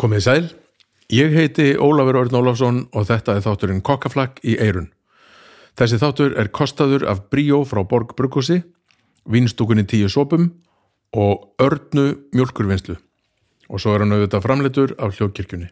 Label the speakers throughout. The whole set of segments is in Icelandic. Speaker 1: Komið sæl, ég heiti Ólafur Örn Ólafsson og þetta er þátturinn Kokkaflakk í Eirun. Þessi þáttur er kostaður af Bríó frá Borg Brugghúsi, vinstúkunni tíu sopum og Örnu mjölkurvinnslu. Og svo er hann auðvitað framleitur af hljókirkjunni.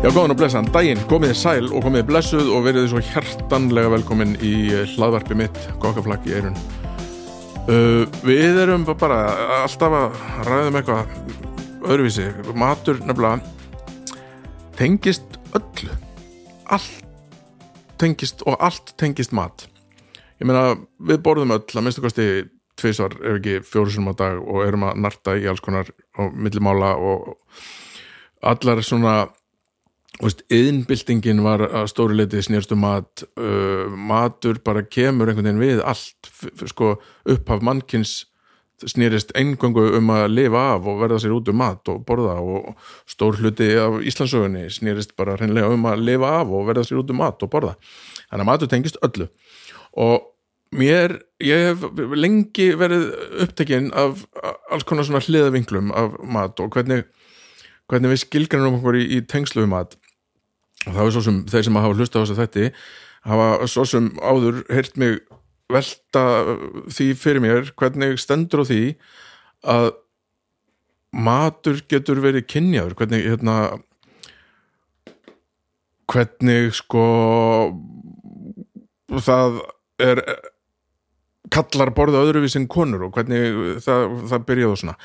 Speaker 1: Já, góðan og blessaðan daginn, komið sæl og komið blessuð og verið svo hjartanlega velkomin í eh, hlaðvarpi mitt, kokkaflakk í eirun. Uh, við erum ba- bara alltaf að ræðum eitthvað öðruvísi, matur nefnilega tengist öllu, allt tengist og allt tengist mat. Ég meina, við borðum öll að minnstu kosti tvisvar ef ekki fjórusunum á dag og erum að narta í alls konar og millimála og allar svona þú veist, yðinbyltingin var að stóru leiti snýrst um mat uh, matur bara kemur einhvern veginn við allt F f- sko upphaf mannkins snýrist eingöngu um að lifa af og verða sér út um mat og borða og stór hluti af Íslandsögunni snýrist bara hreinlega um að lifa af og verða sér út um mat og borða þannig að matur tengist öllu og mér, ég hef lengi verið upptekinn af a- alls konar svona hliðavinglum af mat og hvernig hvernig við skilgrænum okkur í, í tengslu við mat og það er svo sem þeir sem hafa hlustað á þess að þetta hafa svo sem áður heyrt mig velta uh, því fyrir mér hvernig stendur á því að matur getur verið kynjaður hvernig hérna hvernig sko það er kallar borða öðruvís en konur og hvernig það, það byrjaði og svona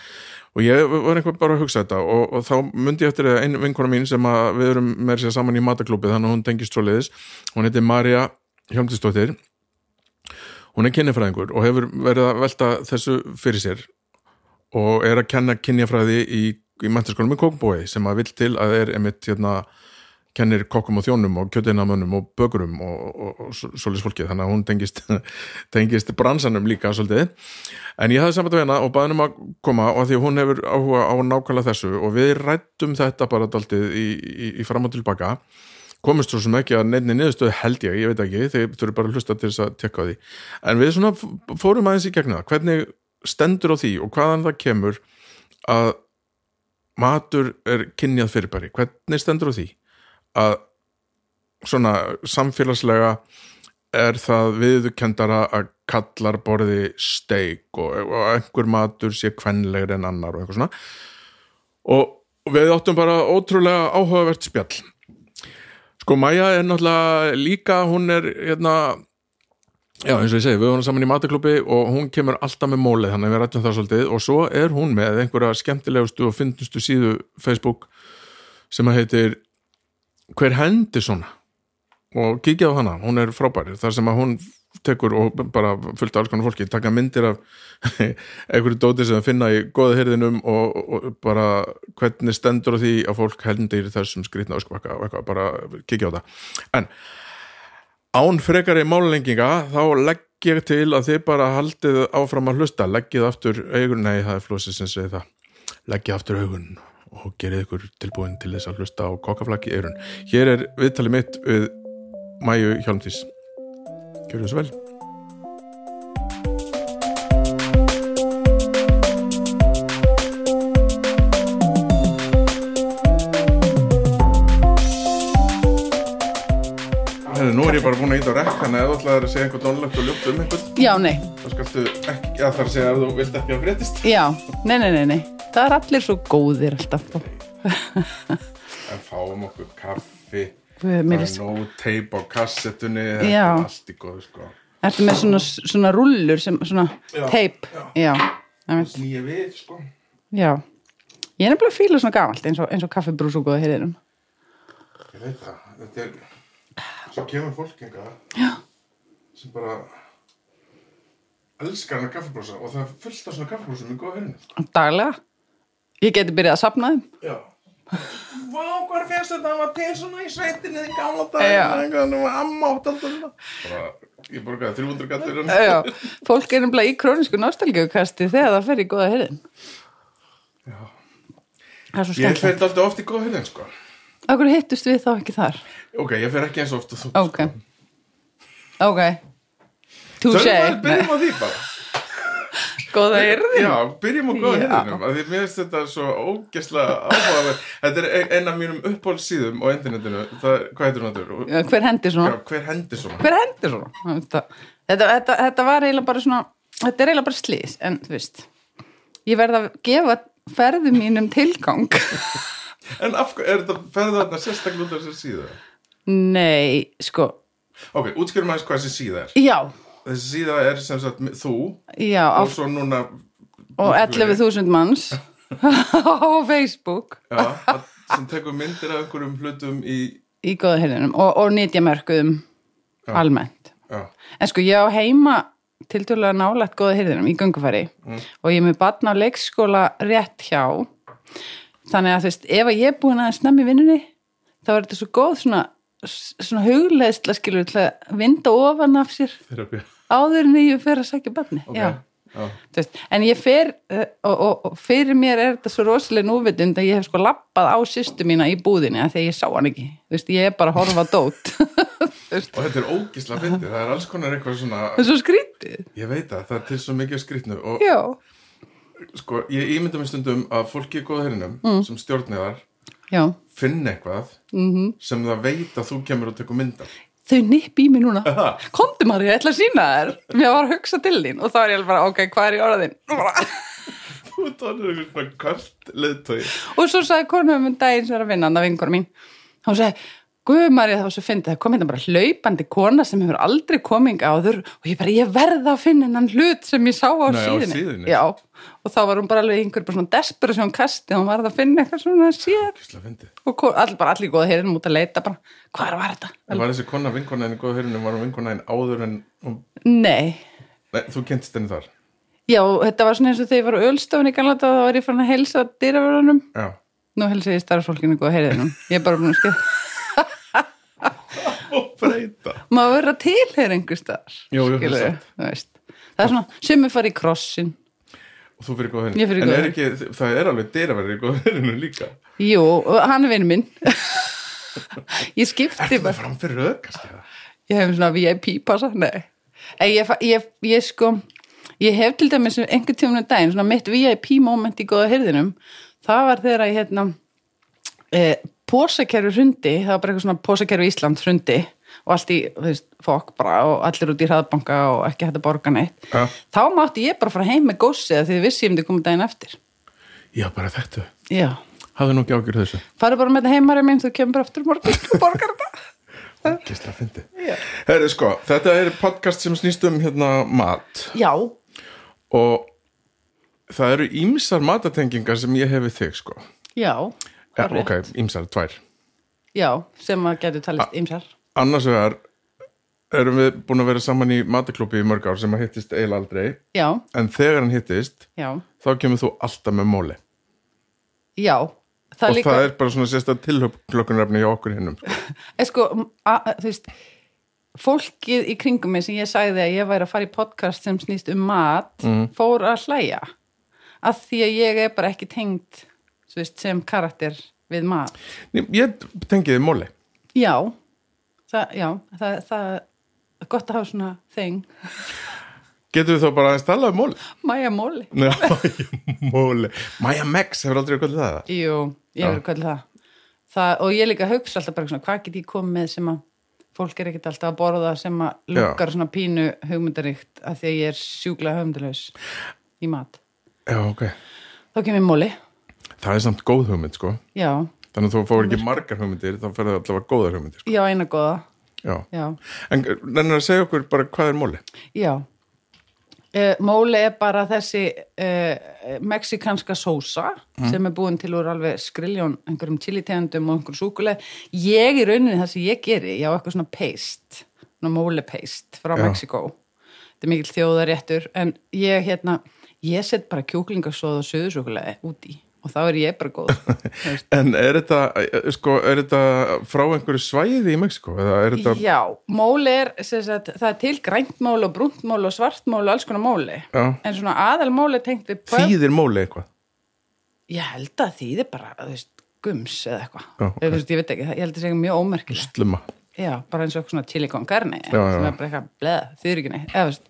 Speaker 1: og ég var einhver bara að hugsa þetta og, og þá myndi ég eftir að einn vinkona mín sem að við erum með sér saman í mataklúpi þannig að hún tengist svo leiðis hún heitir Marja Hjálmtistóttir hún er kynjafræðingur og hefur verið að velta þessu fyrir sér og er að kenna kynjafræði í, í mentaskólum í kókbói sem að vill til að er emitt hérna kennir kokkum og þjónum og kjötinamönnum og bökurum og, og, og svo- svoleiðis fólkið þannig að hún tengist, tengist bransanum líka svolítið En ég hafði samband við hérna og baði henni um að koma og að því að hún hefur áhuga á nákvæmlega þessu og við rættum þetta bara daldið í, í, í fram og tilbaka komist svo sem ekki að nefni niðurstöðu held ég, ég veit ekki, þeir þurfum bara að hlusta til þess að tekka á því. En við svona f- fórum aðeins í gegnum það, hvernig stendur á því og hvaðan það kemur að matur er kynjað fyrirbæri, hvernig stendur á því að svona samfélagslega er það viðkendara að kallar borði steik og, og einhver matur sé kvenlegri en annar og eitthvað svona og, og við áttum bara ótrúlega áhugavert spjall sko Maja er náttúrulega líka hún er hérna já eins og ég segi við vorum saman í mataklubbi og hún kemur alltaf með mólið þannig að við rættum það svolítið og svo er hún með einhverja skemmtilegustu og fyndustu síðu Facebook sem að heitir Hver hendi svona? og kíkja á hana, hún er frábæri þar sem að hún tekur og bara fullt af alls konar fólki, taka myndir af einhverju dóti sem þau finna í goða hirðinum og, og, og bara hvernig stendur á því að fólk helndir þessum skrýtna öskvaka og eitthvað, bara kíkja á það en án frekari málenginga þá legg ég til að þið bara haldið áfram að hlusta, leggið aftur augun, nei það er flósið sem segir það leggið aftur augun og gerið ykkur tilbúin til þess að hlusta á kokkaflakki eirun. Hér er viðtalið mitt við Mæju Hjálmtís Gjörðu svo vel Herri, nú er ég bara búin að íta á rekk þannig að ef þú ætlaðir að segja einhvern dónlegt og ljótt um einhvern
Speaker 2: Já, nei,
Speaker 1: þá skaltu ekki, að það er að segja að þú vilt ekki að breytist
Speaker 2: já, nei, nei, nei, nei. Það er allir svo góðir alltaf. sko.
Speaker 1: en fáum okkur kaffi
Speaker 2: Guð, mér
Speaker 1: það
Speaker 2: er
Speaker 1: er
Speaker 2: svo-
Speaker 1: nóg teip á kassettunni þetta
Speaker 2: Já.
Speaker 1: er allt í góðu sko
Speaker 2: Ertu með svona, svona rullur, sem, svona
Speaker 1: Já,
Speaker 2: teip? Já. einmitt,
Speaker 1: snýja við sko
Speaker 2: já. Ég er nefnilega að fíla svona gamalt eins og, eins og kaffibrús og góða heyrirum.
Speaker 1: Ég veit það, þetta er svo kemur fólk enga sem bara elskar hana kaffibrósa sko. og það er fullt af svona kaffibrósum í góða henni
Speaker 2: Daglega. Ég geti byrjað að sapna þeim.
Speaker 1: Já, Vá, hvað fyrst þetta var til svona í sveitinni þinn gamla
Speaker 2: Já.
Speaker 1: daginn og amma átt um alltaf bara, ég borgaði 300 gallir um- hann
Speaker 2: Já, fólk er nefnilega í krónisku nostalgiukasti þegar það fer í góða herðin. Það er svo
Speaker 1: ég fer
Speaker 2: skemmt.
Speaker 1: alltaf oft í góða hérna sko
Speaker 2: Akkur hittust við þá ekki þar?
Speaker 1: ok, ég fer ekki eins oft og þú sko.
Speaker 2: Ok. Ok. Touché.
Speaker 1: Tölum að
Speaker 2: Nei,
Speaker 1: byrjum á því bara
Speaker 2: Góða herðin.
Speaker 1: Já, byrjum á góða
Speaker 2: Já.
Speaker 1: hérna Því mér finnst þetta svo ógæslega áhugaverð Þetta er ein- ein af mínum uppáhaldsíðum á internetinu Það, hvað heitir hún þetta?
Speaker 2: Hver hendi
Speaker 1: Já,
Speaker 2: svona?
Speaker 1: hver hendi svona?
Speaker 2: Hver hendi svona? Þetta, þetta, þetta, þetta var eiginlega bara svona, þetta er eiginlega bara slís, en þú veist, ég verð að gefa ferðum mínum tilgang.
Speaker 1: En af hverju, er þetta ferða þarna sérstaklega út af þessi síða?
Speaker 2: Nei, sko,
Speaker 1: Ok, útskjörum aðeins hvað þessi síða er
Speaker 2: já,
Speaker 1: Þessi síða er sem sagt mi- þú
Speaker 2: já, á
Speaker 1: Og svo núna
Speaker 2: og
Speaker 1: nokkru-
Speaker 2: 11.000 manns á Facebook
Speaker 1: Já, að- sem tekur myndir af einhverjum hlutum í
Speaker 2: í góða heilinum og, og nýtjamörkuðum almennt.
Speaker 1: Já,
Speaker 2: En sko ég á heima tiltölulega nálægt góða heilinum í göngufæri og ég er með batna á leikskóla rétt hjá þannig að þú veist, ef að ég er búin að snemmi vinnunni þá er þetta svo góð svona, svona hugleðsla skilur til að vinda ofan af sér
Speaker 1: þeirra björn
Speaker 2: áður en ég fer að sækja batni.
Speaker 1: Ok,
Speaker 2: Já.
Speaker 1: já.
Speaker 2: Þú veist, en ég fer eh, og, og, og fyrir mér er þetta svo rosalega núvitund að ég hef sko lappað á sýstu mína í búðinni af því að ég sá hann ekki Þú veist, ég er bara að horfa á dót
Speaker 1: Og þetta er ógísla fyndið, það er alls konar eitthvað svona,
Speaker 2: það er svo skrítið
Speaker 1: ég veit að það er til svo mikið af skrýtnu og
Speaker 2: já,
Speaker 1: sko, ég ímynda mér stundum að fólki í góðherinum mm. sem stjórniðar
Speaker 2: já,
Speaker 1: finn eitthvað -hmm. sem það veit að þú kemur og tekur mynda
Speaker 2: þau nipp í mig núna
Speaker 1: Aha.
Speaker 2: komdu maður, ég ætla að sína þér mér var að hugsa til þín og þá er ég alveg bara ok, hvað er í orðin
Speaker 1: þú tónir eitthvað kvart leðtói
Speaker 2: og svo sagði konum um daginn sem er að vinna hann að vinkona mín hún sagði Guðmarið þá svo fyndi það kom hérna bara hlaupandi kona sem hefur aldrei koming áður og ég bara ég verða að finna hennan hlut sem ég sá á
Speaker 1: Nei, á
Speaker 2: síðunni.
Speaker 1: síðunni.
Speaker 2: Já, og þá var hún bara alveg í einhver bara svona desperation kasti og hún varð að finna eitthvað svona sér
Speaker 1: ógísla fyndið
Speaker 2: og ko- all, bara allir góða heyrinum út að leita bara hvað var þetta?
Speaker 1: það var þessi kona vinkonaðin í góðherinum var hún vinkonaðin áður en hún,
Speaker 2: Nei,
Speaker 1: nei, þú kynntist henni þar
Speaker 2: já þetta var svona eins og þegar ég var á ölstofni kannan þá var ég farin að helsa dýravörunum
Speaker 1: já
Speaker 2: nú helsa ég starfsfólkinu góða heyrinum ég er bara búin að skil
Speaker 1: og breyta
Speaker 2: maður verður að tilheyra einhver staðar
Speaker 1: Jú, jú, það er
Speaker 2: skilurðu,
Speaker 1: satt.
Speaker 2: þú veist. það er svona, sumir fara í krossin
Speaker 1: og þú fyrir
Speaker 2: Ég fer í
Speaker 1: góðherinum en
Speaker 2: Góðheirin.
Speaker 1: er ekki, það er alveg dyraverðir í góðherinum líka
Speaker 2: jú, og hann er vinn minn ég skipti
Speaker 1: það er
Speaker 2: bara
Speaker 1: framfyrir öð kannski það
Speaker 2: ég hef svona VIP passa nei, En ég, fa- ég, ég sko ég hef til dæmis einhvern tímanum daginn svona mitt VIP moment í góða hyrðinum það var þegar að hérna e, pósakerfi hrundi það var bara eitthvað svona pósakerfi Ísland hrundi og allt í, þú veist, fokk bara og allir út í hraðbanka og ekki hægt að borga neitt
Speaker 1: Já.
Speaker 2: þá mátti ég bara fara heim með gósið af því þið vissi ég myndi koma daginn eftir
Speaker 1: já, bara þetta,
Speaker 2: já,
Speaker 1: hafðu nú ekki ágjur þessu
Speaker 2: farið bara með þetta heimari minn þú kemur bara aftur í morgun og borgar þetta
Speaker 1: Gísla fyndi.
Speaker 2: Já.
Speaker 1: Herri sko, þetta er podcast sem snýst um hérna mat
Speaker 2: já,
Speaker 1: og það eru ímsar matatengingar sem ég hef við þig sko.
Speaker 2: já,
Speaker 1: Ja,
Speaker 2: Hárrétt.
Speaker 1: ok, ímsar, tvær.
Speaker 2: já sem að getur talist ymsar
Speaker 1: Annars vegar erum við búin að vera saman í mataklúpi í mörg ár sem að hittist eiginlega aldrei
Speaker 2: já,
Speaker 1: en þegar hann hittist
Speaker 2: já
Speaker 1: þá kemur þú alltaf með móli
Speaker 2: Já, það
Speaker 1: og
Speaker 2: líka,
Speaker 1: það er bara svona sérsta tilhlökkunrefni hjá okkur hinnum sko.
Speaker 2: er... sko, a, a- þú veist, fólkið í kringum mig sem ég sagði að ég væri að fara í podcast sem snýst um mat,
Speaker 1: Mhm.
Speaker 2: fór að hlæja, af því að ég er bara ekki tengd, þú veist, sem karakter við mat.
Speaker 1: Ég- Ég tengi þið móli
Speaker 2: Já, það, já, það, það er gott að hafa svona þeng,
Speaker 1: Getum við þá bara aðeins talað um móli?
Speaker 2: mæja móli.
Speaker 1: Nei, móli Maja Max hefur aldrei okkur til það
Speaker 2: Jú, ég
Speaker 1: Já.
Speaker 2: verður kvöld það. það. Og ég líka hugsa alltaf bara svona, hvað get ég komið með sem að fólk er ekkert alltaf að borða sem að
Speaker 1: Já.
Speaker 2: lukkar svona pínu hugmyndaríkt af því að ég er sjúklega hugmyndalaus í mat.
Speaker 1: Já, ok
Speaker 2: Þá kemur móli,
Speaker 1: Það er samt góð hugmynd sko
Speaker 2: já,
Speaker 1: Þannig að þú fór ekki margar hugmyndir þá fer það allavega góðar hugmyndir sko.
Speaker 2: já, eina góða,
Speaker 1: Já.
Speaker 2: já.
Speaker 1: En nennir að segja okkur bara hvað er móli
Speaker 2: Já. Uh, móli er bara þessi uh, meksikanska sósa
Speaker 1: Mm.
Speaker 2: sem er búin til úr alveg skriljón einhverjum chilitegundum og einhverjum súkuleg. Ég í rauninni það sem ég geri, ég á eitthvað svona paste, svona móli paste frá
Speaker 1: Já.
Speaker 2: Mexiko. Þetta er mikill þjóðaréttur en ég hérna, ég set bara kjúklingasóð og söðusúkulegi út í og þá er ég bara góð þú veist.
Speaker 1: En er þetta, eh, sko, er þetta frá einhverju svæði í Mexiko? Eða er þetta,
Speaker 2: já, móli er sem sagt, það er til grænt móli og brúnt móli og svart móli og alls konar móli
Speaker 1: Já.
Speaker 2: en svona aðal móli tengt við pub-
Speaker 1: þýðir móli eitthvað?
Speaker 2: ég held að þýði bara, þú veist, gums eða eitthvað,
Speaker 1: Já,
Speaker 2: okay. veist, ég veit ekki, það- ég held að segja mjög ómerkilegt
Speaker 1: Slumma.
Speaker 2: já, bara eins og eitthvað svona chili con carne
Speaker 1: Já, já,
Speaker 2: sem
Speaker 1: já.
Speaker 2: er bara eitthvað bleð, þýðir ekki neitt eða, þú veist,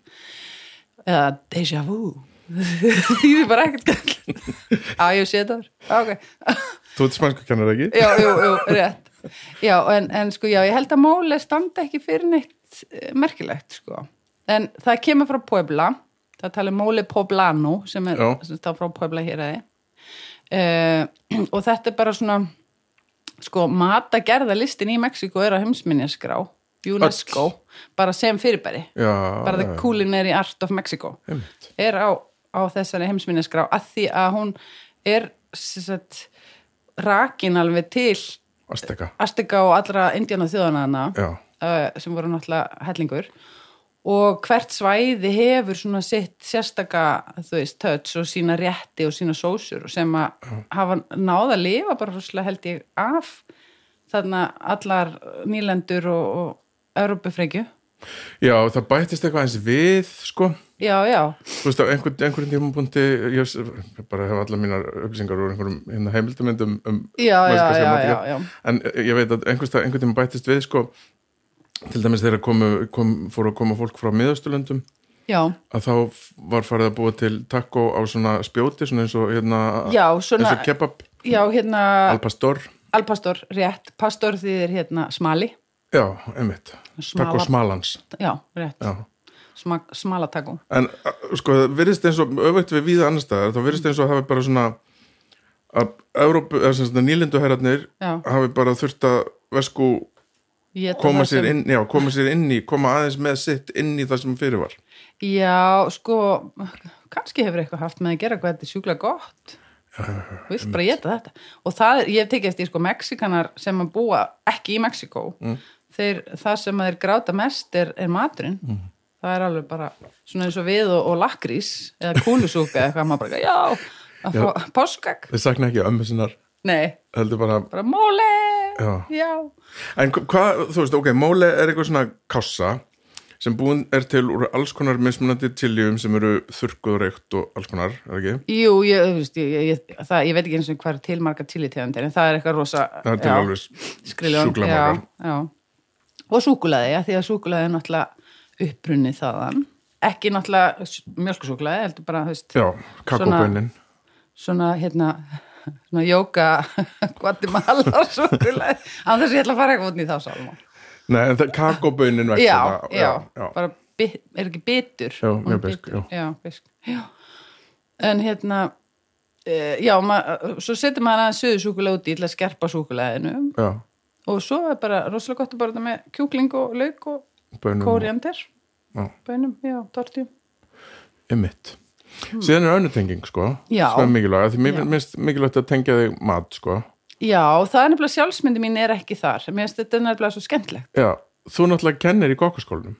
Speaker 2: eða deja vu þýðir bara ekkert gall á, ég sé þetta þar ok,
Speaker 1: Þú ert spænsku kennar ekki?
Speaker 2: já, jú, jú, rétt já, en, en sko, já, ég held að móli standa ekki fyrir neitt eh, merkilegt, sko, en það kemur frá Puebla, það talar móli Poblano, sem er
Speaker 1: Já.
Speaker 2: sem stað frá Puebla hér aði Eh, og þetta er bara svona sko, matagerða listin í Mexiko er á heimsminjaskrá UNESCO, bara sem fyrirbæri
Speaker 1: Já.
Speaker 2: bara
Speaker 1: já,
Speaker 2: The
Speaker 1: já.
Speaker 2: Culinary Art of Mexico
Speaker 1: Einmitt.
Speaker 2: er á, á þessari heimsminneskrá að því að hún er sem sagt, rakin alveg til
Speaker 1: Azteka.
Speaker 2: Azteka og allra indjána þjóðanana
Speaker 1: Já.
Speaker 2: uh, sem voru náttúrulega hellingur og hvert svæði hefur svona sitt sérstaka þú veist, touch og sína rétti og sína sósur og sem að hafa náð að lifa bara rosalega held ég af þarna allar nýlendur og, og Europafreikju
Speaker 1: Já, það bættist eitthvað eins við, sko.
Speaker 2: já, já,
Speaker 1: Þú veist, á einhvern, einhverjum tímapunkti, ég s- ég bara hef alla mínar upplýsingar úr einhverjum hérna, heimildamindum um
Speaker 2: Já, já,
Speaker 1: mexíska
Speaker 2: já,
Speaker 1: matargerð.
Speaker 2: já, já.
Speaker 1: En eh, ég veit að einhvers einhvern tíma bættist við, sko, til dæmis þegar komu, kom, fóru að koma fólk frá miðaustulöndum
Speaker 2: Já,
Speaker 1: að þá f- var farið að búa til taco á svona spjóti, svona eins og hérna,
Speaker 2: já, svona,
Speaker 1: eins og kebab,
Speaker 2: já, hérna,
Speaker 1: al pastor
Speaker 2: alpastor, rétt, pastor þýðir hérna smali,
Speaker 1: já, einmitt,
Speaker 2: Smala-
Speaker 1: taco smalans
Speaker 2: já, rétt,
Speaker 1: já.
Speaker 2: Sma, smalatagó.
Speaker 1: en a- sko, það virðist eins og öfugt við víða annar staðar, þá virðist eins og hafi bara svona að Európu, eða sem svona nýlindu herrarnir
Speaker 2: Já.
Speaker 1: hafi bara þurft að vesku
Speaker 2: Éta
Speaker 1: koma
Speaker 2: það
Speaker 1: sér
Speaker 2: sem-
Speaker 1: inn, já, koma sér inn í koma aðeins með sitt inn í það sem fyrir var
Speaker 2: Já, sko, kannski hefur eitthvað haft með að gera hvað þetta er sjúklega gott. Þú Vilt bara geta þetta. Og það, er- ég hef tekið eftir, sko, Mexikanar sem að búa ekki í Mexiko,
Speaker 1: Mm.
Speaker 2: þeir, það sem að þeir gráta mest er, er maturinn.
Speaker 1: Mm.
Speaker 2: Það er alveg bara svona eins og við og, og lakrís eða kúlusúka eða hvað maður bara, já, að fá páskak.
Speaker 1: við sakna ekki ömmu sinnar,
Speaker 2: Nei,
Speaker 1: heldur bara
Speaker 2: bara móli
Speaker 1: Já.
Speaker 2: já,
Speaker 1: En hva- hvað, þú veist, ok, móle er eitthvað svona kassa sem búin er til úr alls konar mismunandi tiljum sem eru þurrkuð og reykt og alls konar, er það ekki?
Speaker 2: Jú, ég, þú veist, ég, ég, ég, það, ég veit ekki eins og hvað er til marga tilitegundir en það er eitthvað rosa
Speaker 1: Það er til
Speaker 2: já,
Speaker 1: alveg
Speaker 2: skriljón,
Speaker 1: sjúklega
Speaker 2: já,
Speaker 1: margar.
Speaker 2: já. og súkulaði, já, því að súkulaði er náttúrulega upprunni þaðan ekki náttúrulega s- mjólkusúkulaði heldur bara, þú veist,
Speaker 1: Já, kakobönnin.
Speaker 2: svona hérna, svona jóka Guatemala súkulaði án þess að ég ætla að fara eitthvað út í þá sálma
Speaker 1: Nei, en það kakobönnin vex
Speaker 2: já,
Speaker 1: þarna,
Speaker 2: já, bara bi, er ekki bitur
Speaker 1: Já,
Speaker 2: Hún
Speaker 1: mjög
Speaker 2: er
Speaker 1: beisk,
Speaker 2: bitur. já, bisk já. en hérna e, já, ma, svo setur maður aðeins söðusúkulega út í til að skerpa súkuleginu
Speaker 1: já,
Speaker 2: og svo er bara rosalega gott að bara þetta með kjúkling og lauk og
Speaker 1: bönnin.
Speaker 2: kóriander
Speaker 1: Já.
Speaker 2: bönum, já, tortjum
Speaker 1: Ymmitt. Síðan er önnutenging, sko,
Speaker 2: Hmm. Já.
Speaker 1: sem er mikilvæg, af því mér
Speaker 2: Já.
Speaker 1: finnst mikilvægt að tengja þig mat, sko.
Speaker 2: já, það er nefnilega sjálfsmyndi mín er ekki þar mér finnst þetta nefnilega svo skemmtlegt
Speaker 1: Já, þú náttúrulega kennir í kokkaskólanum.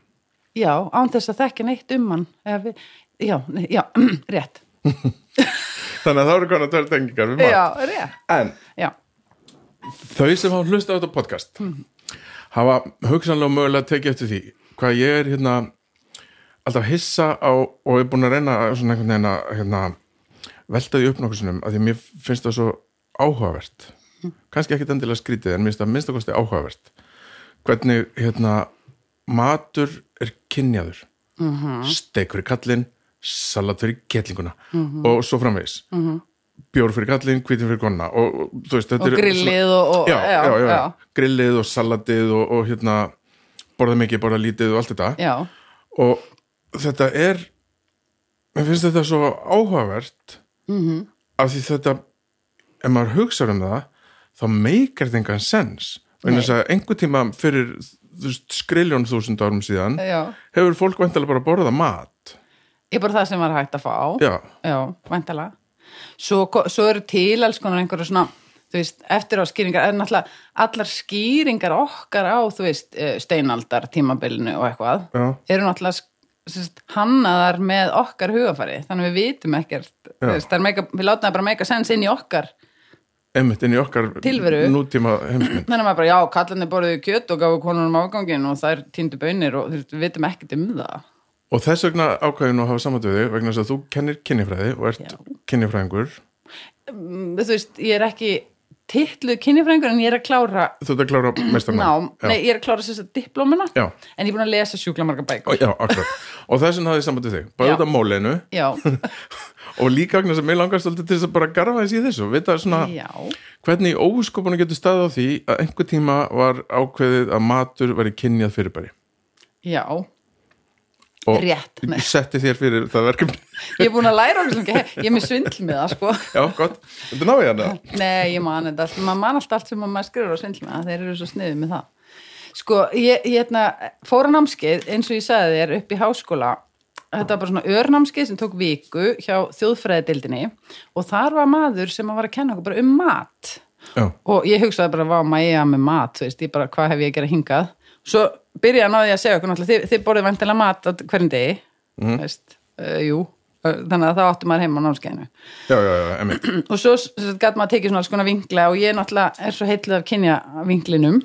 Speaker 2: já, án þess að þekka neitt um hann Ef við, já, nei, já, rétt
Speaker 1: Þannig að það eru konar tveir tengingar við mat.
Speaker 2: já, rétt
Speaker 1: En
Speaker 2: já,
Speaker 1: þau sem hafa hlustað á þetta podcast hafa hugsanlega mögulega tekið eftir því hvað ég er hérna alltaf hissa á og er búin að reyna að svona einhvern veginn að hérna, velta því upp nokkuð sinnum að því að mér finnst það svo áhugavert kannski ekkit endilega skrítið en mér finnst það minnst að kosti áhugavert hvernig hérna matur er kynjaður mm
Speaker 2: Mhm.
Speaker 1: -hmm. steik fyrir kallinn salat fyrir kettlinguna
Speaker 2: Mhm.
Speaker 1: og svo framvegis mm -hmm. bjór fyrir kallinn, hvítin fyrir konna og, og, þú veist, þetta
Speaker 2: og
Speaker 1: er svona-
Speaker 2: grillið og, og
Speaker 1: já, já, já, grillið og salatið og, og hérna borða mikið, borða lítið og allt þetta
Speaker 2: já, já.
Speaker 1: og þetta er mér finnst þetta svo áhugavert mm
Speaker 2: Mhm.
Speaker 1: -hmm. af því þetta ef maður hugsar um það þá meikar þetta engan sens vegna þess að einhver tíma fyrir þú veist, skriljón þúsund árum síðan
Speaker 2: Já.
Speaker 1: hefur fólk vantilega bara borða mat
Speaker 2: Ég er bara það sem var hægt að fá.
Speaker 1: já,
Speaker 2: Já, væntalega. Svo, ko- svo eru til alls konar einhverja svona, þú veist, eftir á skýringar, en náttúrulega allar skýringar okkar á, þú veist, eh, steinaldar tímabilinu og eitthvað,
Speaker 1: Já.
Speaker 2: eru náttúrulega sk- sérst, hannaðar með okkar hugafari þannig við vitum ekkert þú veist, það er mega, við látum það bara meika sens inn í okkar
Speaker 1: einmitt inn í okkar
Speaker 2: Tilveru.
Speaker 1: nútíma heimsmynd
Speaker 2: þannig að maður bara, já, kallarnir borðuðu kjöt og gafu konunum ágangin og þær týndu bönir og þú veist, við vitum ekkert um það
Speaker 1: og þess vegna ákvæðinu að hafa samanduði vegna þess að þú kennir kynifræði og ert
Speaker 2: Já.
Speaker 1: kynifræðingur
Speaker 2: Mm, þú veist, ég er ekki titluð kynjafræðingur en ég er að klára
Speaker 1: þú ert að klára mestarnám
Speaker 2: nám,
Speaker 1: já.
Speaker 2: nei, ég er að klára sérst að diplómuna
Speaker 1: Já.
Speaker 2: en ég er búin að lesa sjúkla marga bækur
Speaker 1: Og- já, akkurat og þess vegna hafði ég sambandið þig bara
Speaker 2: Já.
Speaker 1: út af mólinu
Speaker 2: já,
Speaker 1: og líka vegna sem ég langast alltaf til þess að bara garfa þess í þessu vita svona
Speaker 2: já,
Speaker 1: hvernig óskupunum getur staðið á því að einhver tíma var ákveðið að matur væri kynjað fyrirbæri
Speaker 2: já
Speaker 1: og
Speaker 2: Rétt, nei.
Speaker 1: setti þér fyrir það verkefni
Speaker 2: ég er búin að læra okkur ég er með svindl með það, sko
Speaker 1: já, gott, þetta náði hérna
Speaker 2: Nei, ég man þetta allt, maður man allt allt sem maður skrifur á svindl með, þeir eru svo sniðið með það. Sko, ég, ég hérna, fór á námskeið, eins og ég sagði þér, upp í háskóla, þetta var bara svona örnámskeið sem tók viku hjá þjóðfræðidildinni og þar var maður sem var að kenna okkur bara um mat
Speaker 1: já,
Speaker 2: og ég hugsaði bara, vá, maður ég að með mat, þú veist, ég bara, hvað hef ég að gera hingað? Svo byrjaði hann á því að segja okkur, náttúrulega, þið, þið borðið vantilega mat á hverjum degi, mm. veist, uh, jú, uh, þannig að það áttu maður heima á námskeiðinu
Speaker 1: já, já, já, emitt
Speaker 2: og svo gæti maður að tekið svona alls konar vinkla og ég náttúrulega er svo heitluð af kynja vinklinum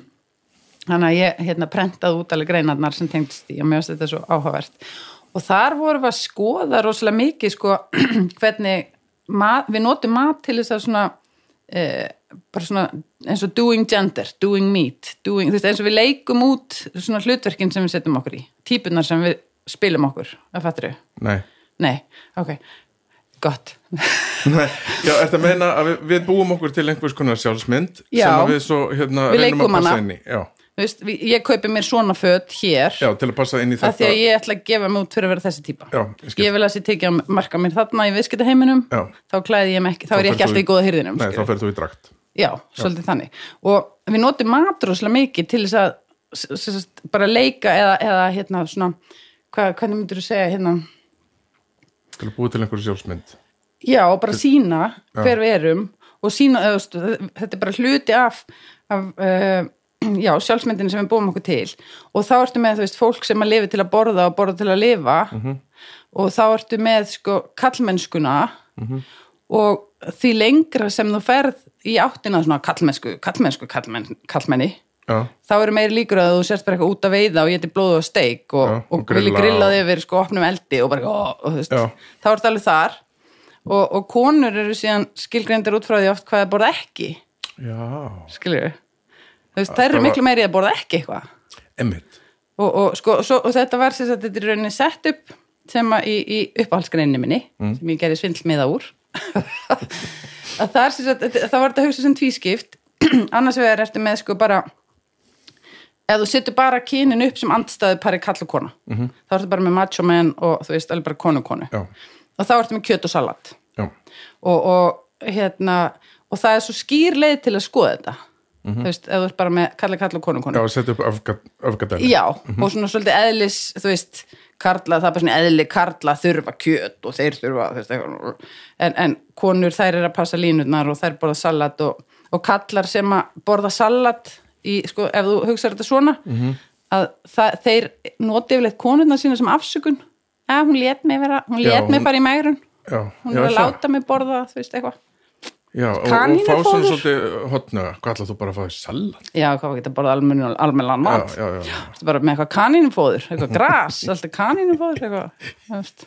Speaker 2: þannig að ég hérna prentaði út alveg greinarnar sem tengdist í og mér finnst þetta svo áhugavert og þar vorum við að skoða rosalega mikið sko hvernig mat, við notum mat til þess að svona eh, bara svona eins og doing gender, doing meat doing, þú veist, eins og við leikum út svona hlutverkin sem við setjum okkur í típunar sem við spilum okkur, það fattur við
Speaker 1: nei,
Speaker 2: nei, ok, gott
Speaker 1: nei, já, ertu að meina að við, við búum okkur til einhvers konar sjálfsmynd
Speaker 2: Já.
Speaker 1: sem að við svo hérna
Speaker 2: Við
Speaker 1: reynum
Speaker 2: leikum
Speaker 1: að passa
Speaker 2: hana.
Speaker 1: inn í já,
Speaker 2: Þú veist, við- ég kaupi mér svona föt hér
Speaker 1: já, til að passa inn í
Speaker 2: af
Speaker 1: þetta
Speaker 2: því að ég ætla að gefa mig út fyrir að vera þessi típa
Speaker 1: Já, ég skil.
Speaker 2: vil að þessi tekja að marka mér þarna í viðskiptaheiminum
Speaker 1: Já.
Speaker 2: þá klæði ég mig ekki, þá, er ég
Speaker 1: ferð
Speaker 2: ekki
Speaker 1: þú
Speaker 2: alltaf í góða hyrðinum
Speaker 1: nei, þá
Speaker 2: skilur.
Speaker 1: ferð þú í drakt
Speaker 2: já, svolítið þannig og við notum matrúslega mikið til þess að s- s- s- bara leika eða, eða hérna svona hva, hvernig myndir þú segja hérna
Speaker 1: til að búa til einhverju sjálfsmynd
Speaker 2: Já, og bara sína hver við erum og sína, eða, þú veist, þetta er bara hluti af, af uh, já, sjálfsmyndinu sem við búum okkur til og þá ertu með, þú veist, fólk sem að lifi til að borða og borða til að lifa og þá ertu með, sko, kallmennskuna og því lengra sem þú ferð í áttina svona kallmennsku, kallmennsku, kallmenn, kallmenni
Speaker 1: já,
Speaker 2: þá eru meiri líkur að þú sérst bara eitthvað út að veiða og geti blóð og steik og,
Speaker 1: Já,
Speaker 2: og,
Speaker 1: og
Speaker 2: vilji
Speaker 1: grilla
Speaker 2: grilla
Speaker 1: og-
Speaker 2: þig yfir sko opnum eldi og bara ó, og, þú veist,
Speaker 1: Já.
Speaker 2: þá er það alveg þar og, og konur eru síðan skilgreindir út frá því oft hvað það borða ekki
Speaker 1: já,
Speaker 2: skilur við veist, þær eru
Speaker 1: það var-
Speaker 2: miklu meiri að borða ekki eitthvað
Speaker 1: emitt
Speaker 2: og, og, sko, og, svo, og þetta var sér að þetta er í rauninni sett upp sem að í, í uppáhaldsgreinni minni
Speaker 1: Mm.
Speaker 2: sem ég gerði svindlmiða úr að það, að, það var þetta hugsa sem tvískipt annars vegar ertu með sko bara ef þú setur bara kynin upp sem andstæðu pari kall og kona þá ertu bara með macho menn og þú veist alveg bara konu konu
Speaker 1: Mhm. já,
Speaker 2: og þá ertu með kjöt og salat
Speaker 1: já,
Speaker 2: og, og hérna og það er svo skýr leið til að skoða þetta þú veist, ef þú ert bara með kalla kalla og konu konu
Speaker 1: Mhm. já, setja upp öfgat- öfgadæmi
Speaker 2: Já, og svona svolítið eðlis, þú veist, karla, það er bara svona eðli karla þurfa kjöt og þeir þurfa, þú veist, eitthvað. en, en konur þær er að passa línurnar og þær borða salat og, og kallar sem að borða salat í, sko, ef þú hugsar þetta svona, að það, þeir noti yfirleitt konurnar sína sem afsökun, að hún lét mig vera, hún
Speaker 1: Já,
Speaker 2: lét mig
Speaker 1: hún-
Speaker 2: bara í mægrun,
Speaker 1: já,
Speaker 2: hún er
Speaker 1: já, er
Speaker 2: að
Speaker 1: það?
Speaker 2: láta mig borða, þú veist, eitthvað.
Speaker 1: Já, og, og fá
Speaker 2: Kanínufóður?
Speaker 1: svona svolítið hotna, hvað ætlaðu þú bara að fá því salat?
Speaker 2: Já, hvað geta borða almennan, almennan mat?
Speaker 1: Já, já, já,
Speaker 2: Þetta er bara með eitthvað kanínufóður, eitthvað gras, alltaf kanínufóður, eitthvað, þú veist.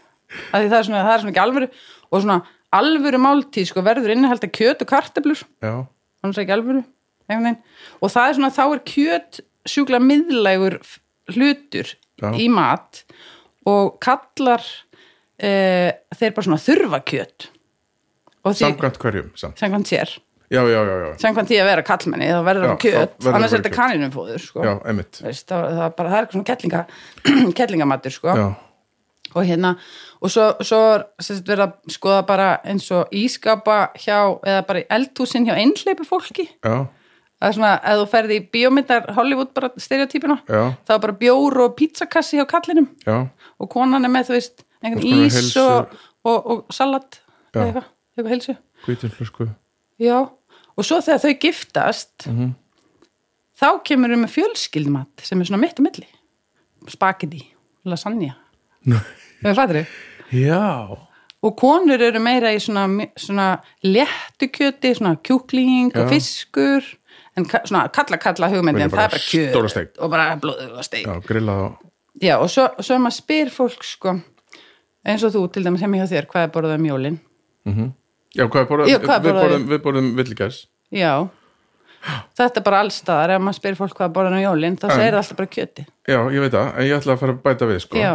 Speaker 2: Af því Það er svona, það er svona ekki alvöru og svona alvöru máltíð, sko, verður innihald að kjöt og karteblur,
Speaker 1: já,
Speaker 2: þannig að ekki alvöru, einhvern veginn. Og það er svona, þá er kjöt sjúkla miðlægur f- hlutur
Speaker 1: Já.
Speaker 2: í mat og kallar, e, þeir bara svona þurfa kjöt. Og því,
Speaker 1: samkvæmt hverjum, samt.
Speaker 2: samkvæmt sér,
Speaker 1: Já, já, já, já,
Speaker 2: samkvæmt því að vera kallmenni, þá verður
Speaker 1: Já,
Speaker 2: hann kjöt,
Speaker 1: þá
Speaker 2: annars
Speaker 1: verður hann
Speaker 2: er þetta
Speaker 1: kjöt.
Speaker 2: kanínufóður, sko.
Speaker 1: já, emitt,
Speaker 2: Veist, það, það, er bara, það er eitthvað svona kettlinga, kettlingamatur sko.
Speaker 1: já,
Speaker 2: og hérna og svo, svo er sem sagt, verið að skoða bara eins og ískapa hjá eða bara í eldhúsin hjá einhleipu fólki
Speaker 1: já,
Speaker 2: það er svona, ef þú ferði í bíómyndar Hollywood bara stereotypuna
Speaker 1: Já.
Speaker 2: þá er bara bjór og pizzakassi hjá kallinum
Speaker 1: já,
Speaker 2: og konan er með, þú veist, einhvern
Speaker 1: Alls
Speaker 2: ís
Speaker 1: konar
Speaker 2: og, og, og salat
Speaker 1: Já.
Speaker 2: eða eitthvað, eitthvað helsu
Speaker 1: hvítinflösku,
Speaker 2: já, og svo þegar þau giftast
Speaker 1: Mhm.
Speaker 2: þá kemur við með fjölskyldmat sem er svona mitt á milli spagetti, lasagna Nei, fattir þið?
Speaker 1: Já.
Speaker 2: og konur eru meira í svona, svona léttu kjöti, svona kjúkling
Speaker 1: Já.
Speaker 2: og fiskur en ka, svona kalla kalla hugmyndi
Speaker 1: Vilja
Speaker 2: en það
Speaker 1: bara
Speaker 2: er bara kjöt
Speaker 1: stóra steik.
Speaker 2: og bara blóður og steik
Speaker 1: Já, grillað og...
Speaker 2: Já, og svo, svo ef maður spyr fólk sko, eins og þú til dæmis sem ég hjá þér hvað er borðað um jólin
Speaker 1: Já, hvað borðum,
Speaker 2: Já, hvað
Speaker 1: við
Speaker 2: borðaði?
Speaker 1: borðum, við borðum villigæs.
Speaker 2: Já, þetta er bara allstaðar ef maður spyr fólk hvað er borðað um jólin þá
Speaker 1: En-
Speaker 2: segir það alltaf bara kjöti
Speaker 1: Já, ég veit það, en ég ætla að fara að bæta við, sko.
Speaker 2: Já.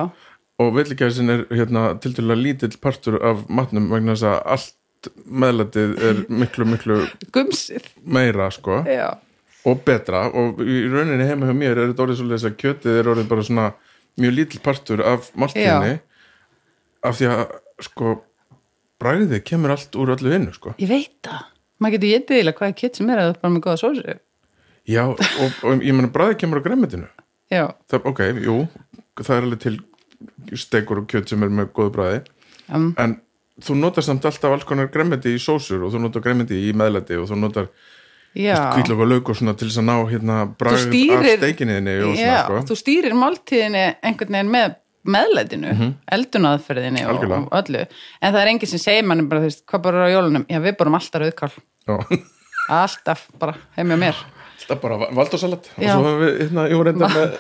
Speaker 1: Og villigæsin er hérna tildulega lítill partur af matnum vegna þess að allt meðlætið er miklu, miklu
Speaker 2: Gumsið,
Speaker 1: meira, sko,
Speaker 2: já
Speaker 1: og betra. Og í rauninni heima hjá mér er þetta orðið svolítið þess að kjötið er orðið bara svona mjög lítill partur af máltíðinni af því að, sko, bræðið kemur allt úr öllu hinnu, sko.
Speaker 2: Ég veit það, maður getur getið eða hvað er kjöt sem er að það er bara með góða sósu
Speaker 1: Já, og, og ég meina bræðið kemur á græmitinu.
Speaker 2: Já,
Speaker 1: það, ok, jú, það er alveg til stekur og kjöt sem er með góðu bræði
Speaker 2: um,
Speaker 1: en þú notar samt alltaf alls konar gremmeti í sósur og þú notar gremmeti í meðlæti og þú notar
Speaker 2: já
Speaker 1: kvítlöku og lauk og svona til þess að ná hérna bræð af
Speaker 2: stýrir-
Speaker 1: steikinniðinni og
Speaker 2: Já,
Speaker 1: svona sko.
Speaker 2: þú stýrir máltíðinni einhvern veginn með meðlætinu, mm -hmm. eldunaðferðinni og,
Speaker 1: Mhm. Algjörlega.
Speaker 2: og öllu, en það er enginn sem segir manni bara, þú veist, hvað bara á jólunum já, við borum alltaf rauðkál,
Speaker 1: Já.
Speaker 2: alltaf bara heim hjá mér,
Speaker 1: alltaf bara valdósalat og
Speaker 2: Já.
Speaker 1: svo höfum við hérna, jú reynda með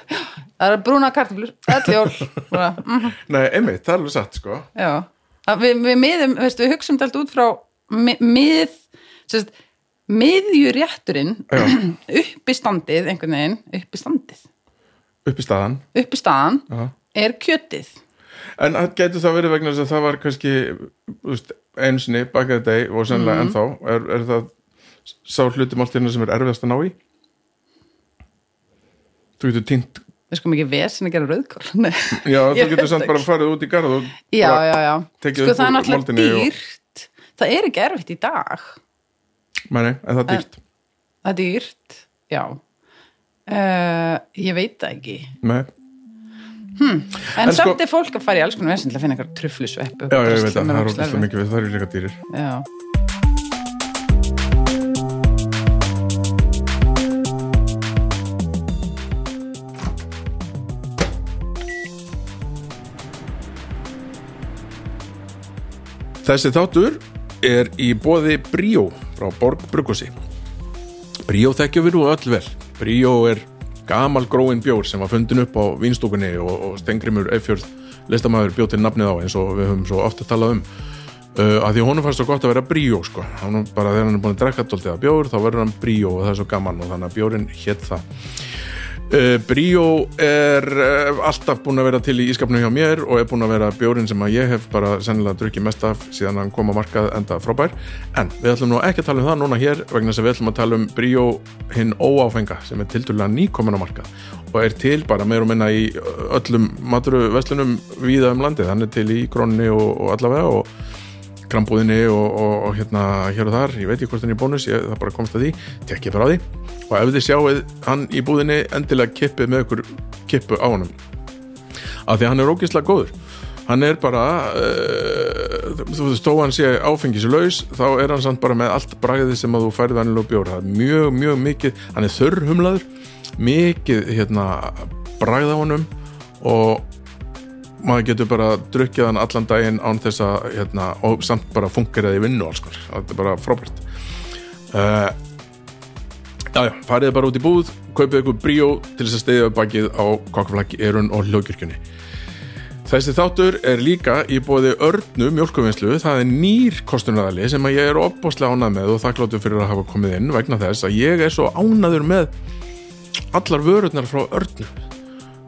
Speaker 2: það er brúna kartöflur öll jól, bara, mm
Speaker 1: nei, einmitt, það er alveg satt sko
Speaker 2: já Að við, við miðum, veist, við hugsum þetta allt út frá mi- mið, sérst miðjurétturinn
Speaker 1: Já.
Speaker 2: uppistandið einhvern veginn uppistandið,
Speaker 1: upp í staðan
Speaker 2: uppistaðan
Speaker 1: Já.
Speaker 2: er kjötið
Speaker 1: En það getur það verið vegna þess að það var kannski þú veist, einsinni bakið þetta og
Speaker 2: Mhm.
Speaker 1: sennilega ennþá er, er það sá hlutum allt hérna sem er erfiðast að ná í Þú getur tínt
Speaker 2: við skulum ekki vesen að gera rauðkál Nei.
Speaker 1: Já, þú
Speaker 2: Ég
Speaker 1: getur
Speaker 2: veit
Speaker 1: samt bara farið út í garð og
Speaker 2: já,
Speaker 1: bara,
Speaker 2: já, já.
Speaker 1: tekið
Speaker 2: sko
Speaker 1: upp
Speaker 2: það er
Speaker 1: úr
Speaker 2: náttúrulega
Speaker 1: moldinni og-
Speaker 2: dýrt það er ekki erfitt í dag
Speaker 1: Mæni, en það er dýrt
Speaker 2: það er dýrt, já uh, ég veit það ekki en,
Speaker 1: Nei, En sko-
Speaker 2: samt er fólk að fara í alls konar vesen til að finna eitthvað truflusveppu
Speaker 1: já, ég veit að það er ótrúlega mikið við það eru líka dýrir
Speaker 2: já.
Speaker 1: Þessi þáttur er í bóði Bríó frá Borg Bruggósi. Bríó þekkjum við nú öll vel. Bríó er gamal gróin bjór sem var fundin upp á vínstúkunni og, og Stengrimur Eifjörð listamæður bjó til nafnið á eins og við höfum svo ofta talað um. Uh, að því honum fannst svo gott að vera bríó sko. hann er bara þegar hann er búin að drekka dóltið að bjór þá verður hann bríó og það er svo gaman og þannig að bjórin hétt það Uh, Bríó er uh, alltaf búin að vera til í ískapnum hjá mér og er búin að vera bjórin sem að ég hef bara sennilega drukkið mest af síðan hann kom á markað enda frábær en við ætlum nú ekki að tala um það núna hér vegna þess að við ætlum að tala um Bríó hinn óáfenga sem er tildulega nýkomin á markað og er til bara meir og minna í uh, öllum maturveslunum víða um landið, hann er til í krónni og, og allavega og krambúðinni og, og, og hérna hér og þar, ég veit ekki hvort hann er í bónus ég, það bara komst að því, tekkið bara á því og ef þið sjáuð hann í búðinni endilega kippið með ykkur kippu á honum af því að hann er ógislega góður hann er bara uh, þú veist, þó hann sé áfengislaus þá er hann samt bara með allt bragðið sem að þú færið hann og bjór, það er mjög, mjög mikið hann er þurrhumlaður mikið hérna bragð á honum og maður getur bara drukkið hann allan daginn án þess að, hérna, og samt bara funkar það í vinnu og alls konar, þetta er bara frábært uh, Já, já, farið bara út í búð kaupið ykkur bríó til þess að steyða upp bakið á kokkflakki, erun og hljókirkjunni Þessi þáttur er líka í bóði örnu mjólkuvinnslu, það er nýr kostunaraðli sem að ég er opbóðslega ánað með og þakkláttu fyrir að hafa komið inn vegna þess að ég er svo ánaður með allar vörurnar frá örnu